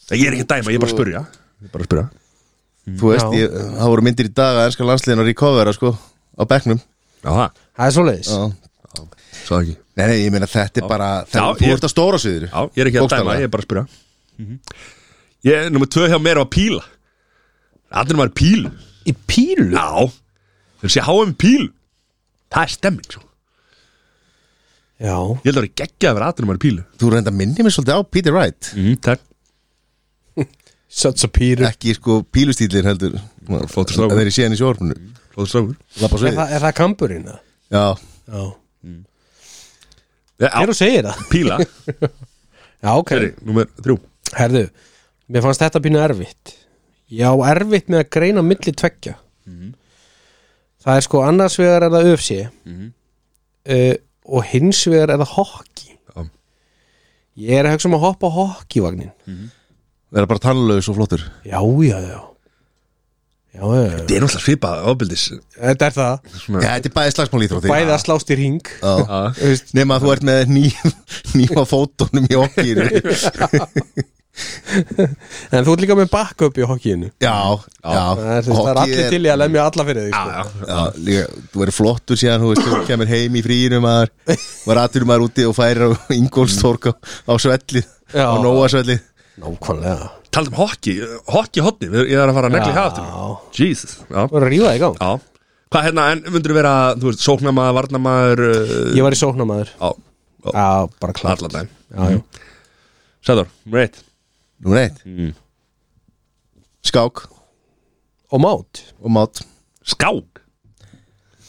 Nei, ég er ekki að dæma, ég er bara að spurja Sko- ég er bara að spurja Mhm. þú veist, Já. ég, það voru myndir í dag að ennska landsliðin að recovera, sko Á bekknum já, það, Það er svoleiðis Já. svo ekki Nei, nei, ég meina, þetta er bara það, Já, Þú ég- ert að stóra sviður já, ég er ekki að dæma, ég er bara að spurja Mhm. ég, nummer tvö hjá mér var píla allir maður píl Í pílu? já, þeir sé háum píl það er stemming svo. Já ég held að það er geggjað að vera allir maður píl Þú reynda minni mér svolítið á Peter Wright mm, takk Such a pílu Ekki, sko, pílustýlin heldur flottur strákur. Það er í síðan í sjórfunu Flóður strákur Lappa Er, sviður það- er það kamburinn? eða? Já, Já Já, Er þú segir [LAUGHS] það? Píla, Já, ok fyrir, númer þrjú Herðu, mér fannst þetta pínu erfitt Já, erfitt með að greina milli tveggja Það er sko annars vegar er það UFC uh, og hins vegar er það hockey Já. Ég er að hugsa um að hoppa á hockeyvagnin það er bara tannlaus og flottur Já, já, já Já, já, já Þetta er náttúrulega svipað ofbildis Þetta er það, Já, þetta er bæði slagsmál íþrótt bæði að slást í ring Já, nema að þú ert með ný, [LAUGHS] nýja fótunum í okkinu [LAUGHS] En þú ert líka með backup í hockeyinu Já, já Það er, þú veist, það er Hockey allir til í að lemja alla fyrir þig Ah. sko. Já, líka, þú verður flottur síðan, þú veist, þú kemur heim í fríinu maður, var atur maður úti og færir á Ingolstorg á, á svellið, Já. á Nóa svellið Nákvæmlega Taldi um hockey, hockey hotni Ég er að fara að negli Já. það aftur Jesus, já, Þú er að rífa í gang já Hvað hérna, en myndur vera, þú veist, sóknamaður, varnamaður uh, Ég var í sóknamaður Já, Já, bara klart allan daginn Já, já Sæður, right Nú neitt, skák og mát og mát Skák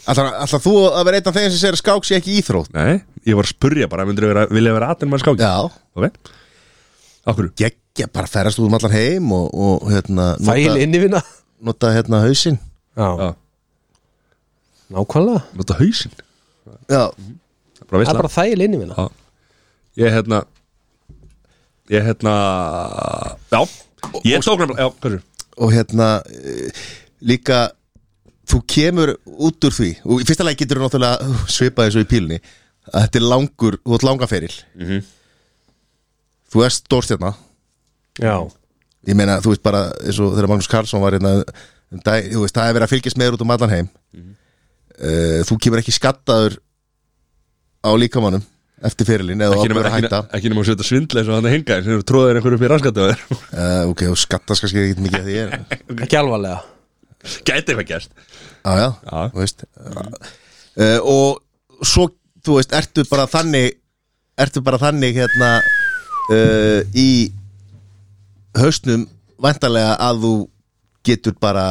Alltaf, alltaf þú að vera einn af þeim sem segir að skák sé ekki íþrótt Nei, ég var að spurja bara, myndur vera, vilja vera aðeins maður skáki Já, Ok, Akkur geggja, bara ferast út um allan heim og, og hérna, Fæl nota, innivina nota hérna hausinn Já, Já. nákvæmlega Nota hausinn Já, Það er bara Það er veistla bara þæl innivina Já. Ég hérna Ég hérna Já, ég tók nefnilega Já, hversu og hérna eh, líka þú kemur út úr því og í fyrsta lagi getur þú náttúrulega svipað eins og í pílunni að þetta er langur, þú ert langaferil -hmm. Mhm. þú ert stórstjarna Já, ég meina þú veist bara eins og þegar Magnús Karlsson var hérna um dag, þú veist, það er verið að fylgjast meður út um allan heim mm Mhm. þú kemur ekki skattaður á líkamannum eftir ferilin eða Ekki nema- þú ákveður að ekki hætta nema- ekki nema að setja svindla eins og hann henga sem eru tróðir einhverju upp í raskata á þér uh, ok, þú skattast kannski ekki mikið að því er ekki alvarlega [LAUGHS] Gæti eitthvað gerst Já, Ah, já, Já. þú veist uh, Og svo, þú veist, ertu bara þannig Ertu bara þannig hérna uh, Í Haustnum Væntalega að þú getur bara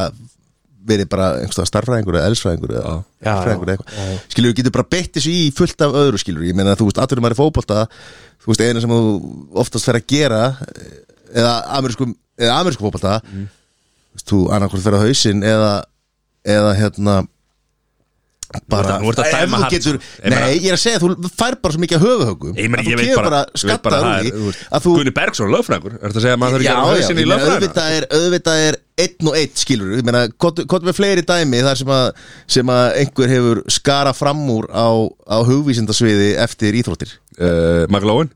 Verið bara einhverstað starfræðingur Eða elsfræðingur eða Já. Já, fræðingur já, eða eitthvað Skilur, getur bara beitt þessu í fullt af öðru skilur Ég meina, þú veist, aðturum maður í fótbolta Þú veist, eina sem þú oftast fer að gera eh, Eða amerískum Eða amerískum fótbolta Þú veist, þú annarkvort fer á hausinn Eða, eða hérna bara, Nú ertu að- nú ertu að ef dæma þú hann. sko. getur, Ég meina- nei, ég er að segja þú fær bara svo mikið að höfuhögum Ég, meni, að ég þú veit kemur bara bara, ég veit bara skattar úr það því er- þú veist, að þú, Guðni Bergson, lögfræðingur Er þetta að segja að maður þarf já, ekki að já, vera ég hausinn í meina, lögfræðina? auðvitað er, auðvitað er einn og eitt skilur, ég meina, hvað með fleiri dæmi þar sem að, sem að einhver hefur skara fram úr á, á hugvísindasviði eftir íþróttir Uh, Maglóin?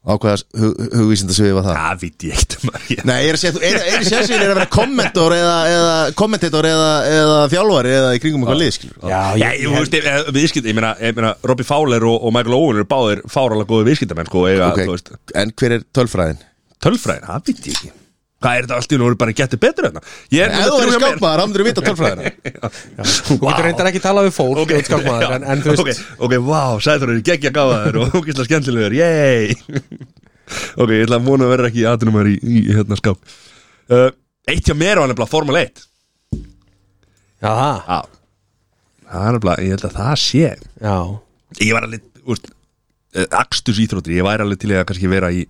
á hvaða hug, hugvísindasviði var það? Það veit ég ekkert um að ég Nei, ég er að segja, þú- einu- einu sérsvíðin er að vera kommentor eða, eða kommentator eða, eða þjálfari eða í kringum eitthvað lið, skilur já Já, ég, ég, veist, ég, viðskipt, ég meina, ég meina Robby Fowler og, og Michael Owen eru báðir fáralega góðu viðskiptamenn sko, eiga, Ok. þú veist, En hver er tölfræðin? tölfræðin, það veit ég ekki Hvað er þetta allt í nú, eru bara getur betur þarna Ég er Ef þú verður [LAUGHS] skápaðar, hann verður vita tölfræðina Þú getur reyndar ekki tala við fólk okay. skalmaður, en, en þú veist Ok, ok, wow, sæður eru geggja gáðaður og ógislega skemmtilegur, yey [LAUGHS] Ok, ég ætla að vona að vera ekki aðrumar í, í hérna skáp uh, Eitt hjá mér var nefnilega Formule 1 Já, það, Já Það er nefnilega, ég held að það sé já, ég var alveg úst, akstus íþróttir, ég væri alveg til í að kannski vera í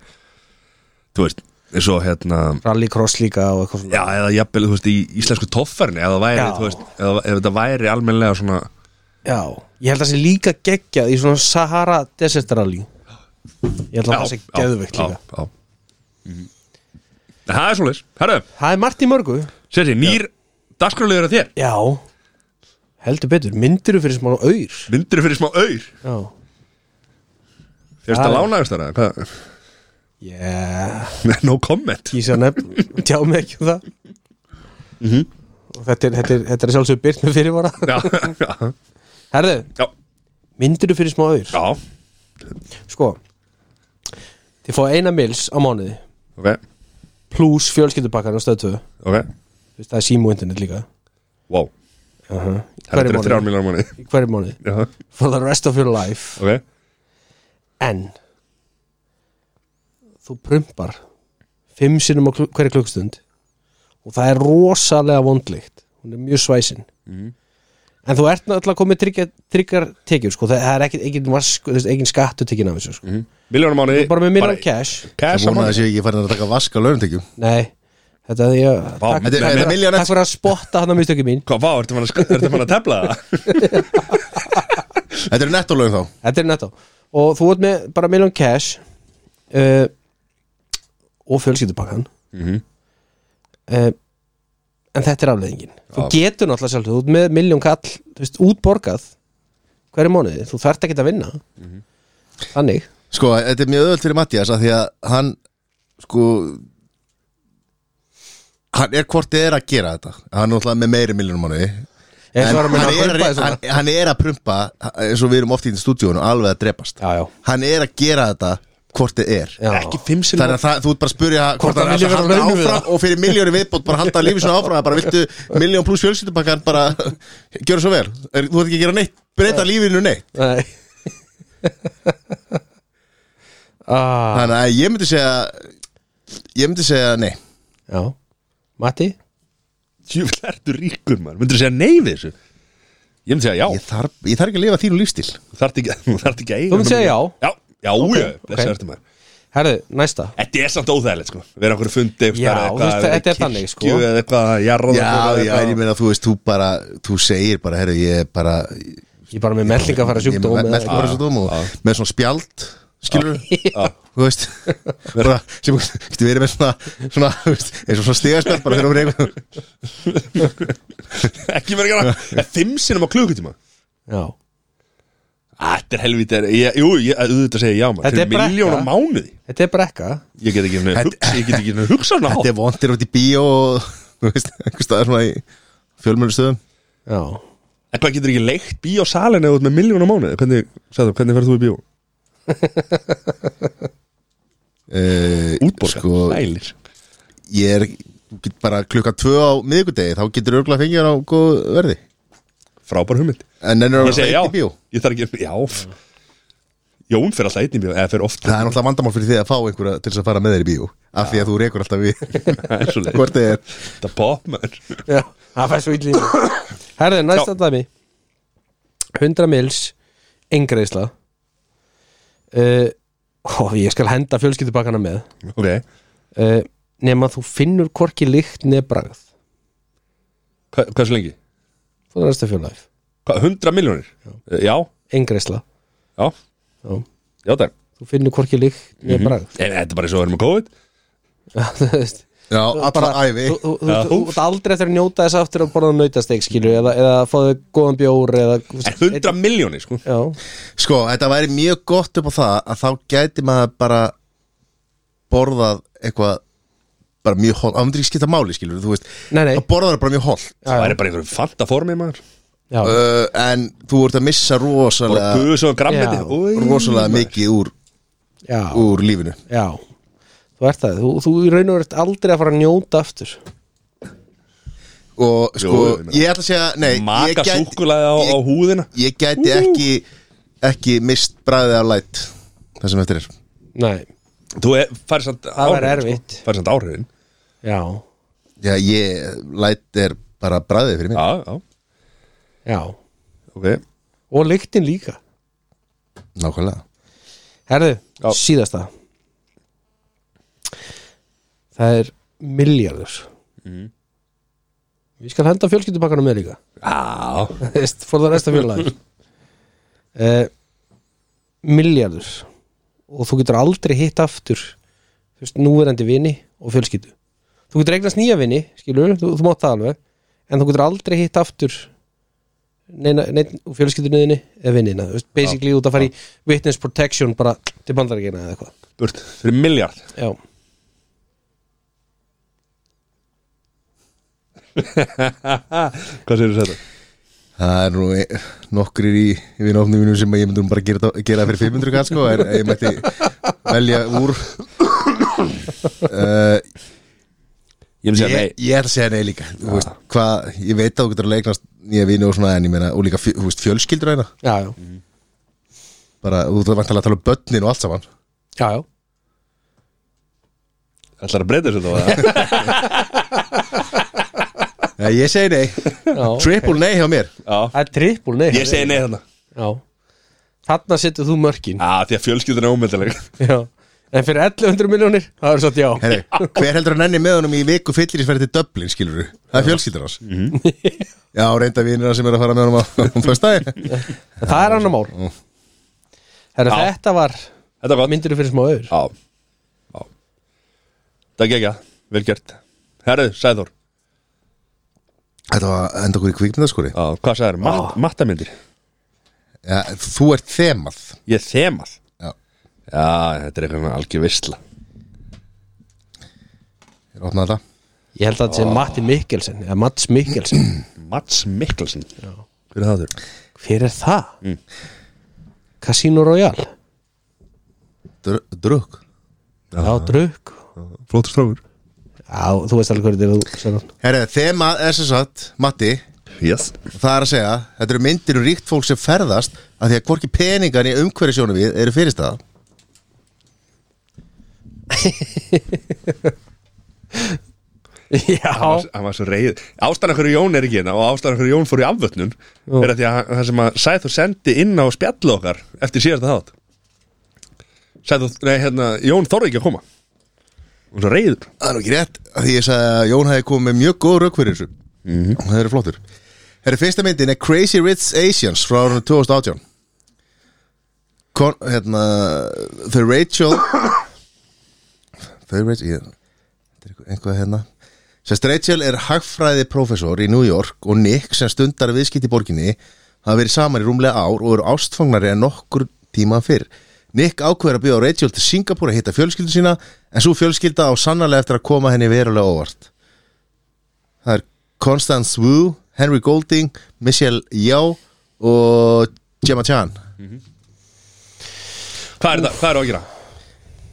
þú veist, eins og hérna rallycross líka og eitthvað svona já, eða jafnvel, þú veist, í íslensku toffarni eða væri, Já. þú veist, eða, ef þetta væri almennilega svona, Já, ég held að það sé líka geggjað í svona Sahara Desert Rally Ég held að það sé geðveikt já, líka já. Mhm. En Það er svoleiðis, herru, Það er margt í mörgu sér ég, nýr dagskrálegur að þér, Já, heldur betur, myndir fyrir smá auður myndir fyrir smá auður Já, fyrst Já. að lánaðist þar eða [LAUGHS] hvað? yeah. no comment kýsa nefn, tjá mig ekki um það Og þetta er, þetta er, þetta er sjálfsög byrt með fyrirvara já, já, Herðu, já, myndir fyrir smá auður já, Sko, þið fá eina mils á mánuði ok, pluss fjölskyldupakkan á stöð 2 ok Þú veist, það er símu internet líka wow, uh -huh. það hverju er þrjár mánuði miljónar manni Í hverju mánuði já, for the rest of your life ok en þú prumpar fimm sinnum á kl hverju klukkstund og það er rosalega vondlíkt hún er mjög svæsin en þú ert náttúrulega komið tryggja, tryggar tekjur sko, það það er ekkit egin, vask, þú veist, egin skattu tekinn af þessu sko. Miljónum mánuði bara með minna cash Cash á Vona mánuði þessi ekki farin að taka vask á launatekjum nei, þetta er því að Vá, takk, þetta er- Þetta er Nei, miljón takk fyrir að spotta hann að mistöki mín Hvað, vá, ertu mann að, sk- ertu mann að tefla það? Þetta eru nettólögum þá Þetta er nettó Og þú ert með bara million cash uh, Og fjölskyldupakkan uh, En þetta er afleðingin Þú Já. getur náttúrulega sjálf Þú ert með million kall Þú veist, útborgað Hverju mánuði, þú þarft ekki að vinna Þannig Sko, þetta er mjög öðvöld fyrir Mattias að því að hann sko hann er hvort þið er að gera þetta hann er náttúrulega með meiri miljónum mánuði Ég En svara með hann, að er, kaupa þessu hann, hann er að prumpa eins og við erum oft í stúdíónu alveg að drepast Já, já, hann er að gera þetta hvort þið er já. fimm þannig að það, þú ert bara að spurja Hvort hvort hann hann er vilji að vera halda launum við áfram og fyrir miljónu viðbót bara halda lífið svona áfram bara viltu miljón pluss fjölskyldupakkan bara gjöra svo vel Er- þú ert ekki að gera neitt breyta lífinu neitt Nei ah, þannig að ég myndi segja ég myndi segja nei Já Matti Júfell, ertu ríkur, mann Myndur þú segja nei við þessu? Ég myndi segja já ég þarf, ég þarf ekki að lifa þínu lífstíl [LAUGHS] Þú þarft ekki, þú þarft ekki að eiga Þú myndi segja já? Já, já, já, Ok, okay, ok. blessa ertu maður Herðu, næsta Þetta er samt óþægilegt sko Við erum okkur fundi einhvers Já, staðar þú eða veist, þetta er kirkju þannig, sko. eða eitthvað, jarða Já, já, en ég meina þú veist, þú bara þú segir bara, herru, ég er bara Ég er bara með mellinga að fara sjúkdóm með, Já, með, með, já. með, með svona spjald skilur já. [LAUGHS] þú veist bara, sem getur verið með svona, svona þú veist, eins og svona stigaspjald bara þegar þú reyngum Ekki verið að gera Fimm sinnum á klukkutíma Já, Æ, Þetta er helvítið er, ég, Jú, ég, auðvitað segi ég já maður Þetta er Þetta er miljón á brekka. mánuði þetta er brekka Ég get ekki henni hugsa Ég get ekki henni hugsa hana [LAUGHS] þetta er vondir átt í bíó [LAUGHS] og þú veist, einhver staðar svona í fjölmjölu stöðum Já, En hvað getur ekki leikt bíó salin eða út með miljón á mánuði Hvernig, sagði, hvernig ferð þú í bíó? uh, Útborga, sko, sælir ég er þú get bara klukka tvö á miðvikudegi þá getur örgulega fengið hann á góð verði Frábær hugmynd en ennur Ég að segi já segja í bíó Ég þarf ekki, já Jón fer alltaf einn í bíó Eða fer oft það er náttúrulega vandamál fyrir því að fá einhverja til þess að fara með þér í bíó af því að þú reykur alltaf við Það er svo leið hvort þið er Þetta er pop, maður já, það fær svo illi [COUGHS] Herðu, næsta dæmi 100 mils Engreisla uh, Ó, ég skal henda fjölskyldubakkana með Ok uh, Nefn þú finnur hvorki lykt nefn bragð Hva, Hversu lengi? Þú er næsta fjölaðið Hva, 100 miljónir? Já. já, Engreisla já, Já. Mhm. já takk Þú finnur hvorki lykt nefn bragð [LAUGHS] En þetta er bara eins og við erum með COVID Þú veist já, allra bara- æfi þú- þú- þú- Já. þú þú ert aldrei eftir að njóta þess aftur að borða nautasteik skilu eða, eða að fá þau góðan bjór eða, En 100 miljónir sko já, Sko, þetta væri mjög gott upp á það að þá gæti maður bara borðað eitthvað bara mjög holt, andri skipta máli skilur þú veist, Nei, nei. þá borðar það bara mjög holt Það er bara einhverjum fanta formið maður já, uh, en þú ert að missa Bara rosalega buðs og grammiti Já. rosalega mikið úr, já, úr lífinu já þú ert það, þú, þú í raun og ert aldrei að fara að njóta aftur og sko, ég meina. ég ætla að segja nei, ég Maka gæti, súkulaði á, á ég, húðina ég gæti ekki ekki mist bræðið af læt það sem eftir er nei, Þú er- færð samt Það væri áhrifin, erfitt. sko. Færð samt áhrifin já, já, ég, læt er bara bræðið fyrir mér Já, já, já ok og lyktin líka, nákvæmlega herðu, Já. síðasta það er miljardur ég skal henda fjölskyldubakkana með líka Já, [LAUGHS] Þú veist, for the rest of your life uh, miljardur og þú getur aldrei hitt aftur þú veist, núverandi vini og fjölskyldu þú getur eignast nýja vini, skilur þú, þú mátt það alveg, en þú getur aldrei hitt aftur neina, neina úr fjölskyldunniðinni eða vinina, þú veist, basically út að fara í witness protection bara til bandarækina eða eitthvað burt Fyrir miljard já, Hvað segir þetta? Það er nú e- nokkrir í vinofnum mínum sem að ég myndi nú bara gera, þetta- gera fyrir 500 kannski sko, en ég mætti velja úr uh, Ég myndi segja ég, nei ég er að segja nei líka Þú veist, hvað, ég veit að þú getur að leiknast nýja vini og svona en ég meina, og líka fjö- þú veist, fjölskyldur aðeina já, já, bara, þú ert vantilega að tala um börnin og allt saman já, já. Ætlar að breyta þessu þá eða? Nei, ég segi nei, já. [LAUGHS] triple nei hjá mér Já, það er trippul, nei ég segi nei þarna já. þarna setur þú mörkin Já, því að fjölskyldan er ómeldaleg Já, en fyrir 1100 miljónir það er svo já Heri, Hver heldur að nenni með honum í viku fyllirisverði til Dublin, skilur Það er fjölskyldur hans Já, reynda vinina sem er að fara með honum á, [LAUGHS] á föstudaginn En það er annar mál Herra, Já. þetta var Þetta var gott myndir fyrir smá öður Já, já. Það gekk að, vel gert Herðu, Sæður, Þetta var enda okkur í kvikmyndaskóri já, hvað Sæður, Mat, mattamindir ja, Þú ert þemað Ég er þemað Já. já þetta er eitthvað með algjör visla Ég opna þetta Ég held að þetta sé Matti Mikkelsen eða Mats Mikkelsen Mats Mikkelsen já. Hver er það þurr? Hver er það? Casino Royale Dr Drug Já, drukk Flótur strákur Já, þú veist alveg hverju þetta er þú Herra, þemað er sem sagt, Matti Yes Það er að segja, þetta eru myndir og ríkt fólk sem ferðast að því að hvorki peningar í umhverfisjónu við eru fyrirstaða Já, Hann var svo reið Ástæðan hverju Jón er ekki hérna og ástæðan hverju Jón fór í afvötnun er að því að hann- það sem að Sæður sendi inn á spjallu okkar eftir síðasta þátt Sæðu, nei, hérna, Jón þorði ekki að koma Og svo reyður Það er nú ekki rétt af Því ég sagði að Jón hefði komið með mjög góð rauk fyrir þessu Það eru flottur Herri, fyrsta myndin er Crazy Rich Asians frá árunum 2018 Kon, hérna, The Rachel [COUGHS] The Rachel ég, þetta er eitthvað- eitthvað hérna Sest Rachel er hagfræði í New York og Nick sem stundar viðskipt í borginni hafa verið saman í rúmlega ár og eru ástfangnari en nokkur tíma fyrr Nick ákveður að bjóða Rachel til Singapúr að hitta fjölskyldu sína en svo fjölskylda á sannarlega eftir að koma henni verulega óvart Það er Constance Wu, Henry Golding, Michelle Yao og Gemma Chan Hvað er það, hvað er það að gera?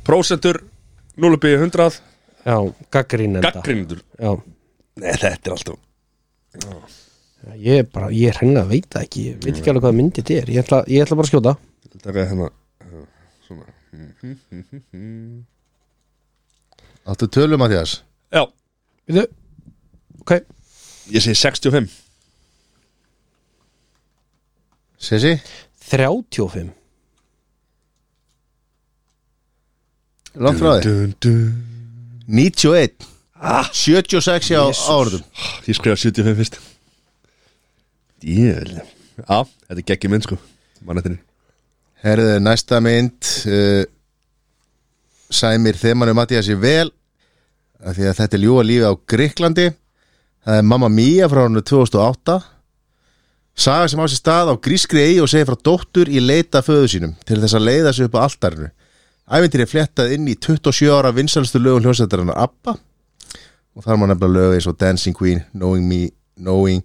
Prósentur, 0,100 já, gaggrínenda Gaggrindur já, Nei, þetta er alltaf ég er bara, ég er henni að veita ekki ég veit ekki alveg hvað myndi þetta er ég ætla, ég ætla bara að skjóta Þetta er hérna Áttu tölum að þess Já, Veitu? ok, ég segi 65 Sessi? 35 Langt frá þig dun, dun. 91 76 á árum Ég skrifa 75 fyrst Jöl Já, þetta er geggjum minn sko Mannættinni Herðu, næsta mynd uh, Sæmir Þemanu Mattiasi vel af því að þetta er ljúa lífi á Gríklandi það er Mamma Mia frá hannu 2008 Saga sem á sér stað á grískri eigi og segir frá dóttur í leita föðu sínum til þess að leiða sig upp á altarinu Ævindir er flettað inn í 27 ára vinsalstu lögum hljósættarinnar Abba og þar má nefnilega lög eins og Dancing Queen, Knowing Me, Knowing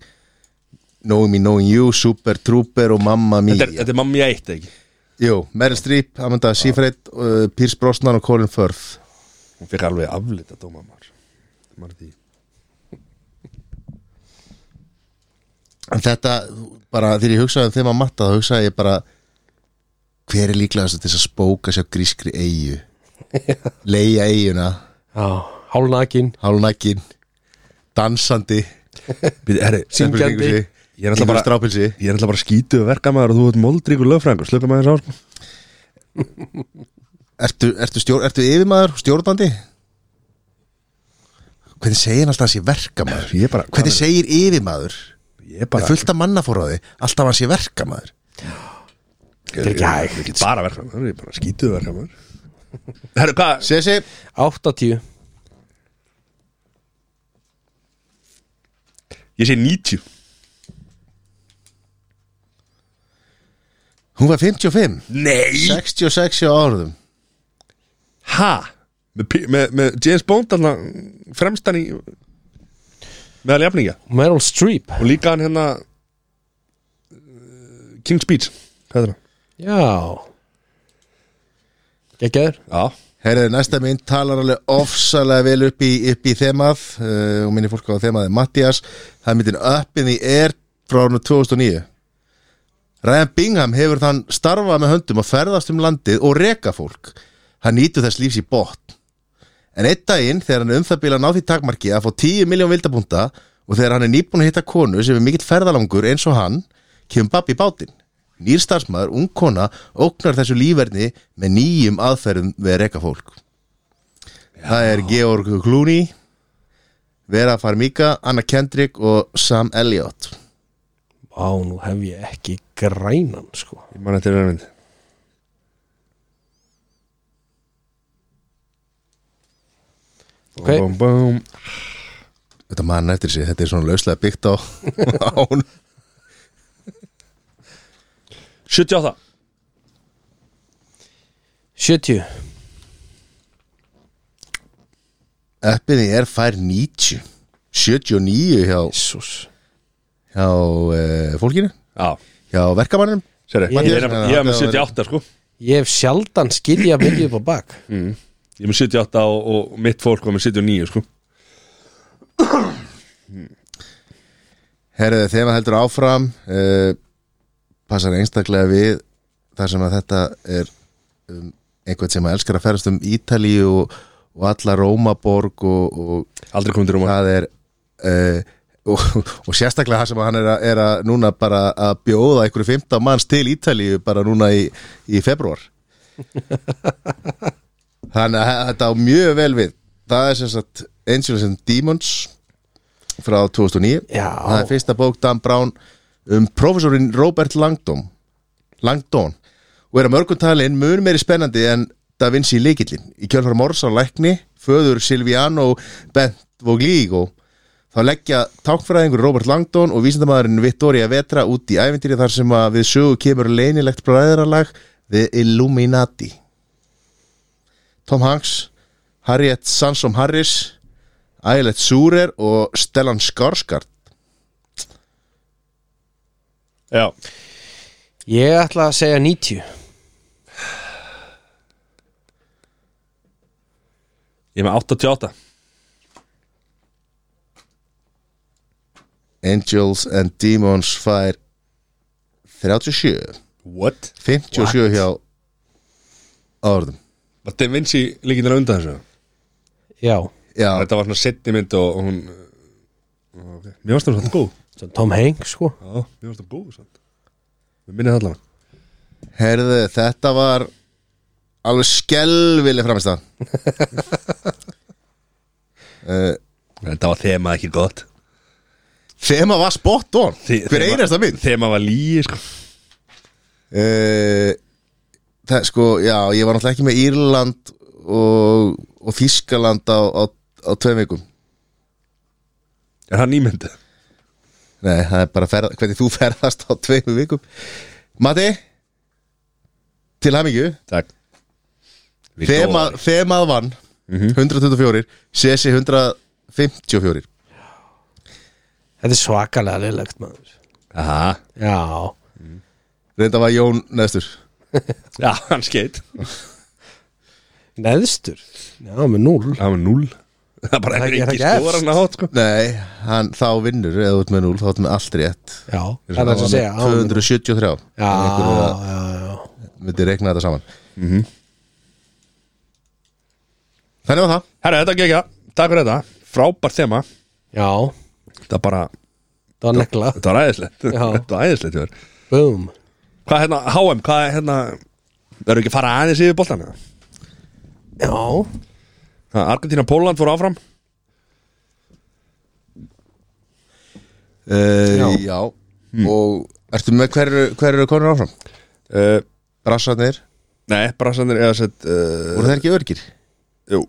Knowing Me, Knowing You, Super Trooper og Mamma Mia Þetta er, þetta er mamma ég eitt ekki Jú, Meryl Streep, Amanda Seyfried, uh, Pierce Brosnan og Colin Firth Hún fikk alveg aflita dóma maður Maður því En þetta, bara þegar ég hugsaði um þeim að matta þá hugsaði ég bara hver er líklega til þess að spóka sér grískri eigu leia eiguna, já, hálnakin hálunakkin dansandi Býðu, herri Syngjandi. Ég er alltaf bara strápilsi Ég er alltaf bara skítuð verka maður og þú ert moldríkur lögfrængur Slöka maður þess á sko Ertu, ertu, stjór, ertu yfirmaður, stjórnandi? Hvernig segir hann alltaf að sé verkamaður? Ég er bara Hvernig segir yfirmaður? Ég er Bara, bara fullt af mannafóraði, alltaf að sé verkamaður Þetta er ekki Ég hægt. er ekki bara verka maður Ég er bara skítuð verka [LAUGHS] maður Herru, hvað? Sessi, 80 Ég segi 90 hún var 55 Nei 66 á árum Ha? Með, pi- með, með James Bond alltaf fremstan í meðal jafningja Meryl Streep og líka hann hérna uh, King's Speech hvað er það? já geggjaður Já, Herðu, næsta mynd talar alveg ofsalega vel upp í, upp í þemað uh, og minni fólk á þemað er Mattias það er myndin Up in the Air frá árunum 2009 Ryan Bingham hefur þann starfað með höndum að ferðast um landið og reka fólk hann nýtur þess lífs í botn en einn daginn þegar hann er um það bila ná því takmarki að fá 10 miljón vildapunta og þegar hann er nýbúin að hitta konu sem er mikill ferðalangur eins og hann kemur babbi í bátinn nýr starfsmaður, ung kona ógnar þessu lífverðni með nýjum aðferðum við að reka fólk það er Georg Clooney Vera Farmiga, Anna Kendrick og Sam Elliott á, nú hef ég ekki grænan sko ég man þetta er mynd Ok. bum, bum, bum. Þetta mann eftir sig, þetta er svona lauslega byggt á [LAUGHS] án 78 70 Eppinni er fær 90 79 hjá, Jesus. hjá uh, fólkinu Já, hjá verkamannum sér ég, Matthías, er- ég er með 78 sko ég hef sjaldan skilja mikið upp á bak Ég er með 78 og, og mitt fólk var með 79 sko Herðu þeim að heldur áfram uh, passar einstaklega við þar sem að þetta er um, einhvern sem að elskar að ferast um Ítali og, og alla Rómaborg og, og Aldrei komið til rúma það er uh, og, og sérstaklega það sem að hann er að, er að núna bara að bjóða einhverju 15 manns til Ítalíu bara núna í, í februar Þannig að þetta á mjög vel við Það er sem sagt Angels and Demons frá 2009 Já. Það er fyrsta bók Dan Brown um professorinn Robert Langdon Langdon og er að mörgum talin mun meiri spennandi en Da Vinci leikillin í kjölfara Morsa lækni, föður Silviano Bent Vogligo þá leggja tákfræðingur Robert Langdon og vísindamæðurinn Vittoria Vetra út í ævindýri þar sem að við sögu kemur leinilegt bræðralag The Illuminati Tom Hanks Harriet Sansom Harris Ægilegt Súrer og Stellan Skarsgård Já, Ég ætla að segja 90 ég er með 88 Angels and Demons fær 37 What? 57 hjá Árðum Var Da Vinci líkindar undan þessu? Já, Já, Þetta var svona setni mynd og og hún og ok. Mér varst það svona góð Svo Tom Hanks sko Já, mér varst það góð svona Við minnið það allavega herðu, þetta var alveg skelvileg framist [LAUGHS] það Eh, Þetta var þema ekki gott Þema var spot on Þi- Hver þema- einasta mynd Þema var líi sko uh, Það sko, já, ég var náttúrulega ekki með Írland og, og Þískaland á, á, á tveim vikum Er hann ímyndið? Nei, það er bara ferð, hvernig þú [LAUGHS] ferðast á tveimu vikum Mati Til hamingju Takk Þemað þemað vann 124 Sesi 154 Þetta er svakalega leilegt maður Aha. Já, Reynda var Jón næstur Já, hann skeitt neðstur Já, með 0 Það var núl Það bara Það er er ekki ekki skóra hann átt sko Nei, hann, þá vinnur Eða út með 0, þá út með allt rétt Já, það er þess að segja á- 273 Já, Einhverju að- já, já Myndi reikna þetta saman Mhm. Þannig var það Herra, þetta gekk að Takk fyrir þetta Frábært þema Já, Þetta bara það var [LAUGHS] nekla Þetta var æðislegt Já. Þetta var æðislegt ég verð Boom Hvað hérna, HM, hvað er hérna Verður ekki að fara aðeins yfir boltan eða? Já, Ha, Argentína Póland fór áfram uh, Já. Já, Hmm. Og ertu með hverju hver eru konur áfram? uh, Rassarnir, Nei, Brassandir eða sett uh, voru þeir ekki örgir? Jú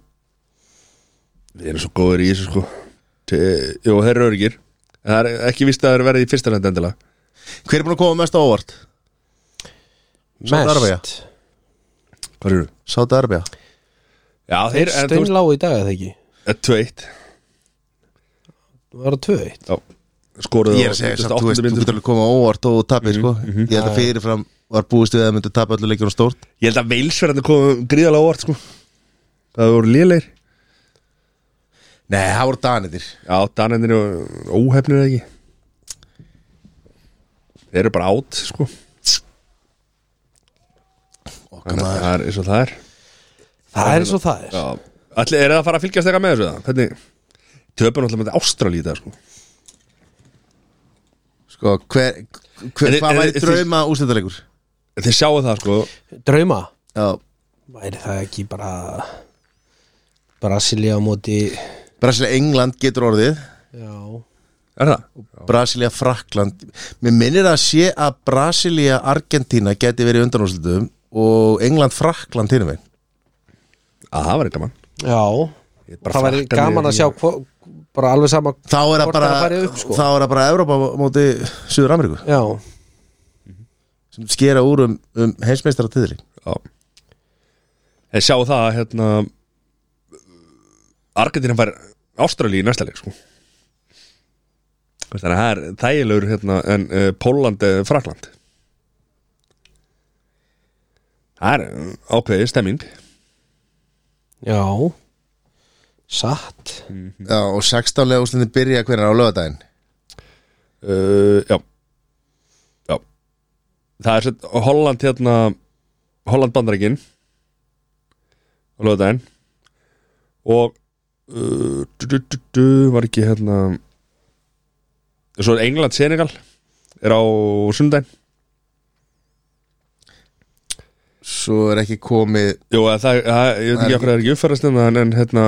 Við erum svo góður í þessu sko Te, Jú, þeir eru örgir En það er ekki víst að þeir verði í fyrsta lendi endilega Hver er búin að koma mest á óvart? Sádi-Arabía. mest Hvað eru? Sáta Arbea Já, þeir, en þú veist, Steinlá í dag eða ekki eh, 2-1 Það var að 2 Já, skoruðu Ég er að segja samt, þú veist, þú getur alveg koma á óvart og tapir, sko Ég held að fyrirfram var búist við að myndu tapa öllu leikjum stórt Ég held að veilsverðandi komum gríðalega óvart sko Það voru léleir Nei, það voru danitir Já, danendir og óhefnir eða ekki Þeir eru bara átt sko Þannig að það er eins og það er Það er svo það er Já Ætli, er það að fara að fylgjast eitthvað með þessu það? Hvernig Töpun alltaf með þetta ástralíta sko Sko, hver, En hver, er- hvað er- væri er- drauma úrstættaleikur? En Þið sjáu það sko Drauma, Já, væri það ekki bara Brasilia á móti Brasilia, England getur orðið Já, Er það? Brasilia, Frakland Mér minnir að sé að Brasilia, Argentína geti verið undanúrstöðum og England, Frakland hinum við Að það var eitthvað mann já Ég bara Það væri frakka gaman niður að sjá í- hvo- bara alveg sama Þá er það Hvort bara, það fari upp, sko. þá er það bara Evrópa á móti Suður Ameríku Já, sem skera úr um, um heimsmeistara tíðri Já En sjáu það að hérna Argentina fær Ástralí í næsta leik sko Þú veist, Þannig að það er þægilegur hérna en uh, Póland eða Frakland Það er uh, ákveðið stemming já Mm. Satt Já, og 16 lega úrslitin byrja hvernig á lögadaginn uh, Já Já Það er sett Holland hérna Holland bandarækin á lögudaginn og uh, du, du, du, du, var ekki hérna svo er England Senegal er á sundaginn svo er ekki komið Jú, að það, að, ég veit ekki okkur það er ekki uppfærast en, en hérna,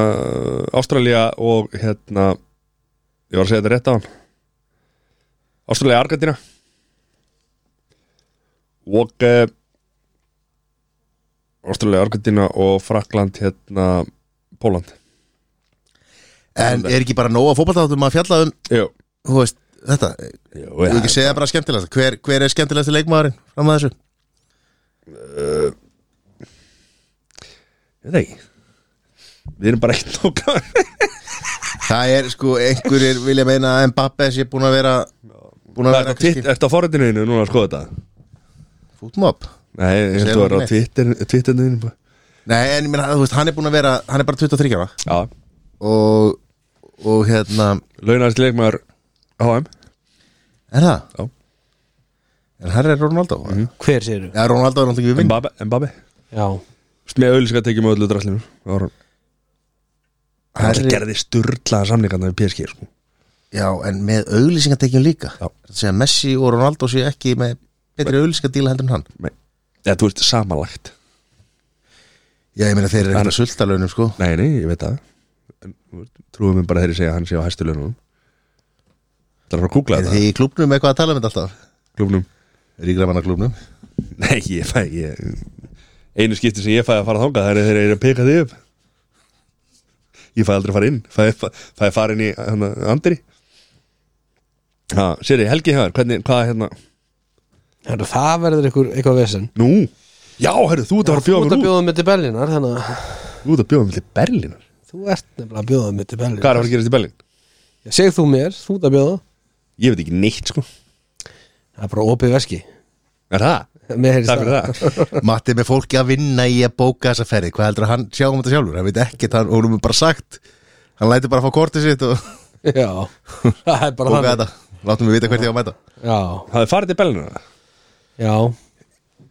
Ástralía og hérna ég var að segja þetta rétt á hann Ástralía og Argentina og eh, Ástralía, Argentina og Frakland hérna, Póland en er ekki bara nóga fótballtáttum að fjalla um Jú, þú veist, þetta, Jú þú ekki segja bara skemmtilegast hver, hver er skemmtilegast leikmaðurinn fram að þessu Ég veit ekki Við erum bara eitt og það er sko, einhverjir vilja meina að Mbappe sé búin að vera búin að Ertu vera á Twitter- ertu á forritinu núna að skoða þetta? fútmob Nei, ég held Segðu að vera á mér. Twitter- Twitterinu Nei, en ég meina, þú veist, hann er búin að vera hann er bara 23 ára Já, og, og hérna, launast leikmaður HM er það? Já. En hann er Ronaldo Hver séru? Já, Ronaldo er náttúrulega ekki við vinn Mbabe, Mbabe. Já, Vist, Með auðlýsing að tekið með öllu drastlinu Það var hann Það Harry- gerði sturlaða samlingarna við PSG sko. Já, en með auglýsingatekjum líka Já. Það segja Messi og Ronaldo séu ekki með betri auglýsingadíla heldur en hann Nei. Eða þú veist samanlagt Já, ég meina þeir eru Hann- ekki að sulta launum, sko Nei, nei, ég veit það En, þú veist, Trúum við bara þegar ég segja að hann sé á hæstu launum Það er að fara að googla Er þetta þið í klubnum eitthvað að tala um þetta alltaf? klubnum Ríkramanna klubnum [LAUGHS] Nei, ég fæ ég, Einu skipti sem ég fæ að fara þangað Það er þeir eru að peka þig upp Ég fæ aldrei að fara inn Fæ, fæ, fæ að fara inn í hana, Andri Ha, Siri, Helgi hefur, hvernig, hvað hérna Heru, það verður ykkur, eitthvað vesen Nú, já, herru, þú ert að fara að Þú ert bjóða mér út að bjóða mig til Berlínar þannig að Þú ert að bjóða mér til Berlínar þú ert nefnilega að bjóða mig til Hvað er að Berlínar fara að gerast í Berlín? Segð þú mér, þú ert að bjóða Ég veit ekki neitt, sko Það er bara opið veski [LAUGHS] Er það? Mér heyrist Takk fyrir það [LAUGHS] Matti er með fólki að vinna í að bóka þessa ferði Hvað heldur að hann sjá um þetta sjálfur? Hann veit ekki, hann honum er bara sagt Hann lætur bara að fá kortið sitt og Já, [LAUGHS] það er bara bóka þannig þetta Látum við vita hvert ég á að mæta Já, Hafið farið til Berlínar? eða? já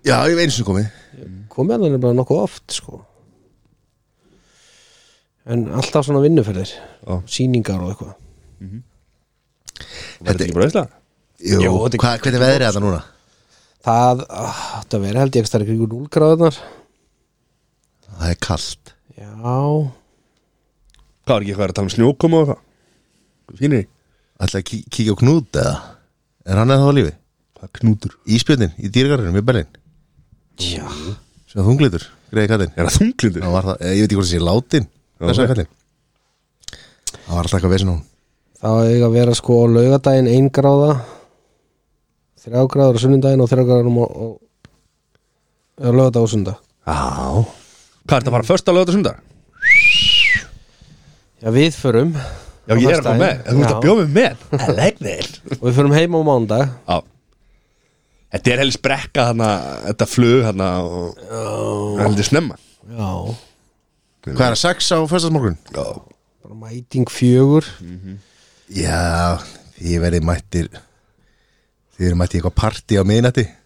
Já, ég veit eins og komið komið hann er bara nokkuð oft sko en alltaf svona vinnuferðir Já. sýningar og eitthvað Var þetta ekki bara veistlega? Jú, Jú, þetta er- hvað, hvernig veðrið er þetta núna? það ah, átti að vera held ég ekki stærri kringur núlgráðunar Það er kallt já, Hvað var ekki eitthvað að tala um snjókoma og eitthvað? Fínir í? Ætla að kí kíkja á Knút eða Er hann eða þá lífi? Hvað knútur? Íspjöndin í dýrgarunum í Berlin já Svo þunglitur, greiði kallinn Er það þunglindur? Hann var það, eh, ég veit ekki hvort það sé látin Þessa ok. kallinn Það var alltaf eitthvað vesinn á hún það var eiga að vera sko á laugardaginn ein gráða þrjá gráður á sunnundaginn og þrjá gráður á og, og laugardag og sundag Já Hvað er það að fara först að lögða sundar? já, við förum Já, ég er að koma með Þú ert að bjóða mér með Það legg vel og við förum heim á mándag Já Þetta er helst brekka þarna Þetta flug þarna og Það er heldur snemma já, Hvað er það, sex á föstasmorgun? Já bara mæting fjögur Já, þið verðið mættir Þið verðið mættir í eitthvað partí á miðnætti Já,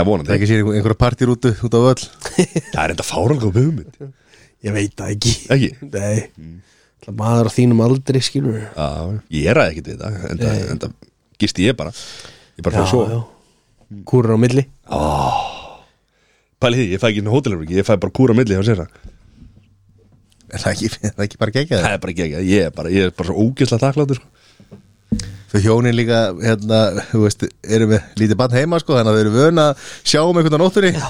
Það vonandi ekki sér einhver- einhverja partýr út, út á öll Það er enda fáralga hugmynd ég veit það ekki Ekki? Nei Það maður á þínum aldri skilur Já, Já, ég er að ekkert við það Enda, enda gisti ég bara Ég bara fór að sofa Kúrur á milli Pæli því, ég fæ ekki hótelherbyggi Ég fæ bara kúra á milli hjá sér Er það ekki, er það ekki bara gegja Það er bara ekki ekki Ég er bara, ég er bara svo ógeðslega takkláttur sko. Þau hjónin líka, hérna, þú veist, eru með lítið bann heima, sko, þannig að þau eru vöna að sjá um einhvern á nóttunni. [LAUGHS]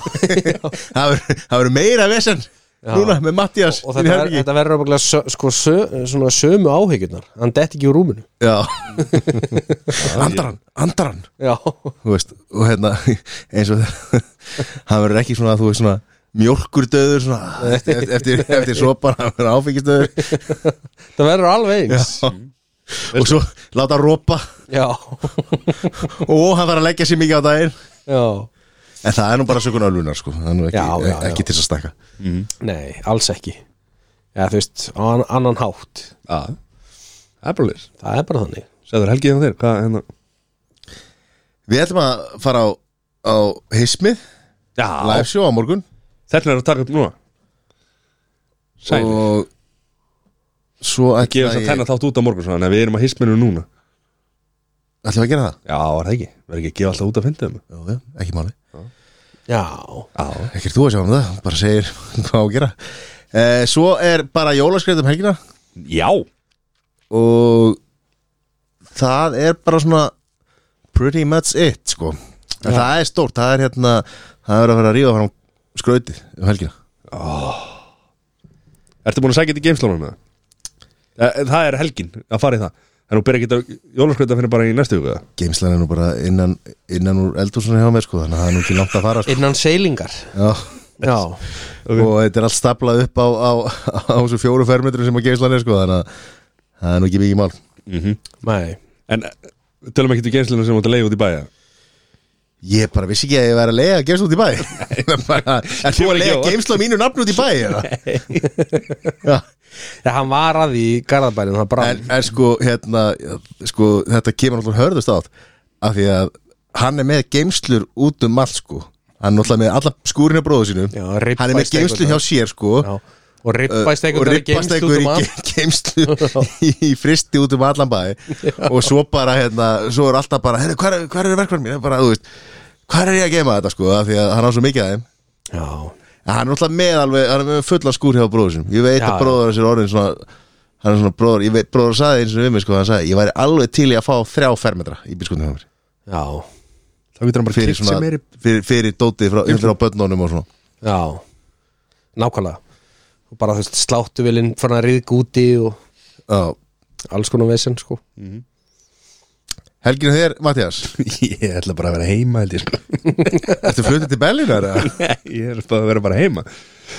það verður- það verður meira vesen núna með Mattias. Og þetta, ver, þetta verður ábygglega sö, sko, sö, svona sömu áhyggjurnar Hann detti ekki úr rúminu [LAUGHS] Já. andar hann, andar hann. Já Þú veist, og hérna, [LAUGHS] eins og [LAUGHS] það, hann verður ekki svona, þú veist, svona mjólkur döður, svona, [LAUGHS] eftir, eftir, eftir sopan, hann verður [LAUGHS] áfengistöður. Það verður alveg eins og svo láta hann rópa Já og hann þarf að leggja sér mikið á daginn. Já [LAUGHS] En það er nú bara sökun ölunar, sko, það er nú ekki, Já, já, já. ekki til þess að stakka. Nei, alls ekki Já, þú veist, á ann- annan hátt Já Það er bara leys Það er bara þannig Sæður Helgi hérna þér Hvað hérna Við ætlum að fara á, á Hismið, Já live show á morgun Þetta er að taka upp núna Sæl Og og svo ætla gefum þess ég- að þennan þátt út á morgun Þannig að við erum að hisminu núna ætlum við að gera það? Já, var það ekki Verður ekki að gefa alltaf út að fyndið um Jú, jú, ekki máli Já, Já, Ekkert þú að sjá um það, bara segir [LAUGHS] hvað á að gera eh, Svo er bara jólaskreitum helgina já. og það er bara svona pretty much it sko En Það er stórt, það er hérna það er að vera að ríða fram skrautið um helgina Ertu búin að sækja þetta í geimslónum með það? Eh, Það er helgin að fara í það En þú byrja ekki að jólaskvölda fyrir bara í næstu huga Geimslan er nú bara innan, innan úr eldhúsinu hjá mér sko, þannig að það er nú ekki langt að fara sko. innan seilingar Já, Já, og þetta er allt staplað upp á, á, á þessu fjóru fermetrum sem að geimslan er sko, þannig að það er nú ekki mikið mál nei En eh, tölum ekki til geimslónum sem átt að leiða út í bæja Ég bara vissi ekki að ég væri að leiða geimslu út í bæ En þú Þú var var að ekki leiða á- geimslu á mínu nafn út í bæ eða? [LAUGHS] Já, hann var að því í Garðabærin, hann brann en, en sko, hérna, sko Þetta kemur náttúrulega hörðust átt Af því að hann er með geimslur út um allt sko Hann er náttúrulega með alla skúrinu bróðu sínum Já, Hann er með ribbæsteikur geimslu hjá sér sko Já, og Uh, ribbæsteikur um og ribbasteikur í geimslu í fristi út um allan bæ og svo bara hérna svo er alltaf bara, hérna, hver, hver er verkvarn mín bara, þú veist, hver er ég að geima þetta sko af því að hann á svo mikið af þeim Já, En hann er náttúrulega með alveg, hann er með fulla skúr hjá bróður sinum Ég veit Já, að bróður hans er orðin svona Hann er svona bróður, ég veit, bróður saði eins og við mig sko Hann sagði, ég væri alveg til í að fá þrjá fermetra í bílskotnum hjá mér já, Þá getur hann bara Fyrir kipt svona, sem er fyrir, fyrir dótið frá, frá börnunum og svona já Nákvæmlega og bara þú veist sláttuvelin fann að riðg úti og Já, alls konar vesinn sko helginu þér, Mattias [LAUGHS] Ég ætla bara að vera heima held ég [LAUGHS] sko. Ertu flutið til Berlín eða? Ég er bara að vera bara heima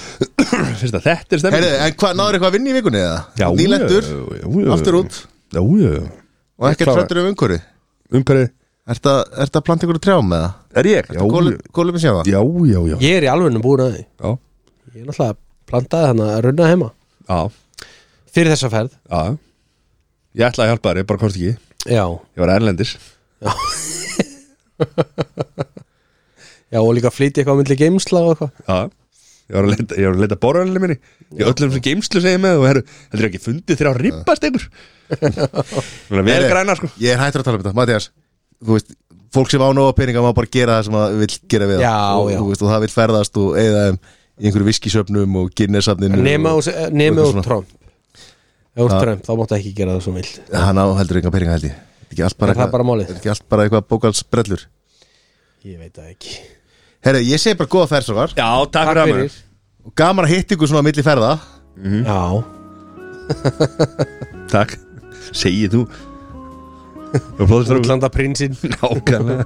[CLEARS THROAT] Fyrst að þetta er Herðu, stemming en hvað, náður eitthvað að vinna í vikunni eða? Já, Nýlendur, já, já, já. aftur út Já, já, og ekkert Klára. hrættur um umhverju umhverfið Ertu að ertu að planta ykkur trjám eða? Er ég? Já, Kólum við sjá það? já, já, já, Ég er í alveginu búin að því já. Ég er náttúrulega plantaði hann að runna heima Já, Fyrir þessa ferð, já Ég ætla að hjálpa þér, ég bara komst ekki Ég já var erlendis Já, og líka flytja eitthvað á myndli geimsla og eitthvað Já, ég var að leita, ég var að leita borðanlega minni Ég öllum sem geimslu segi með og herru, heldur ekki fundið þeirra að ribbast einhver Þannig að við erum græna sko Ég er hættur að tala um þetta, Mattias Þú veist, fólk sem á nóga peninga má bara gera það sem það vill gera við það. Já, og, já. þú Veist, og það vill ferðast og eða þeim í einhverju viskisöfnum og ginnesafninu Nema og, úr, eh, nema eitthvað úr svona. Trump Ef úr Trump, þá máttu ekki gera það svo vild Hann á heldur enga peninga held ég Er Ekki allt bara Er það eitthvað- bara málið? er Ekki allt bara eitthvað bókalsbrellur Ég veit það ekki Herra, ég segi bara góða ferð svo var Já, takk fyrir að maður og gaman að hitta ykkur svona á milli ferða Já, Takk, segið [LAUGHS] þú Það var flóðist ráð útlanda prinsinn Nákvæmlega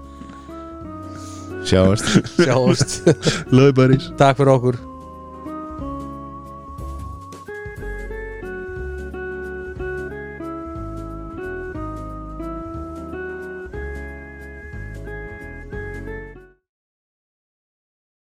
Sjáast Sjáumst Löðu barís [LAUGHS] Takk fyrir okkur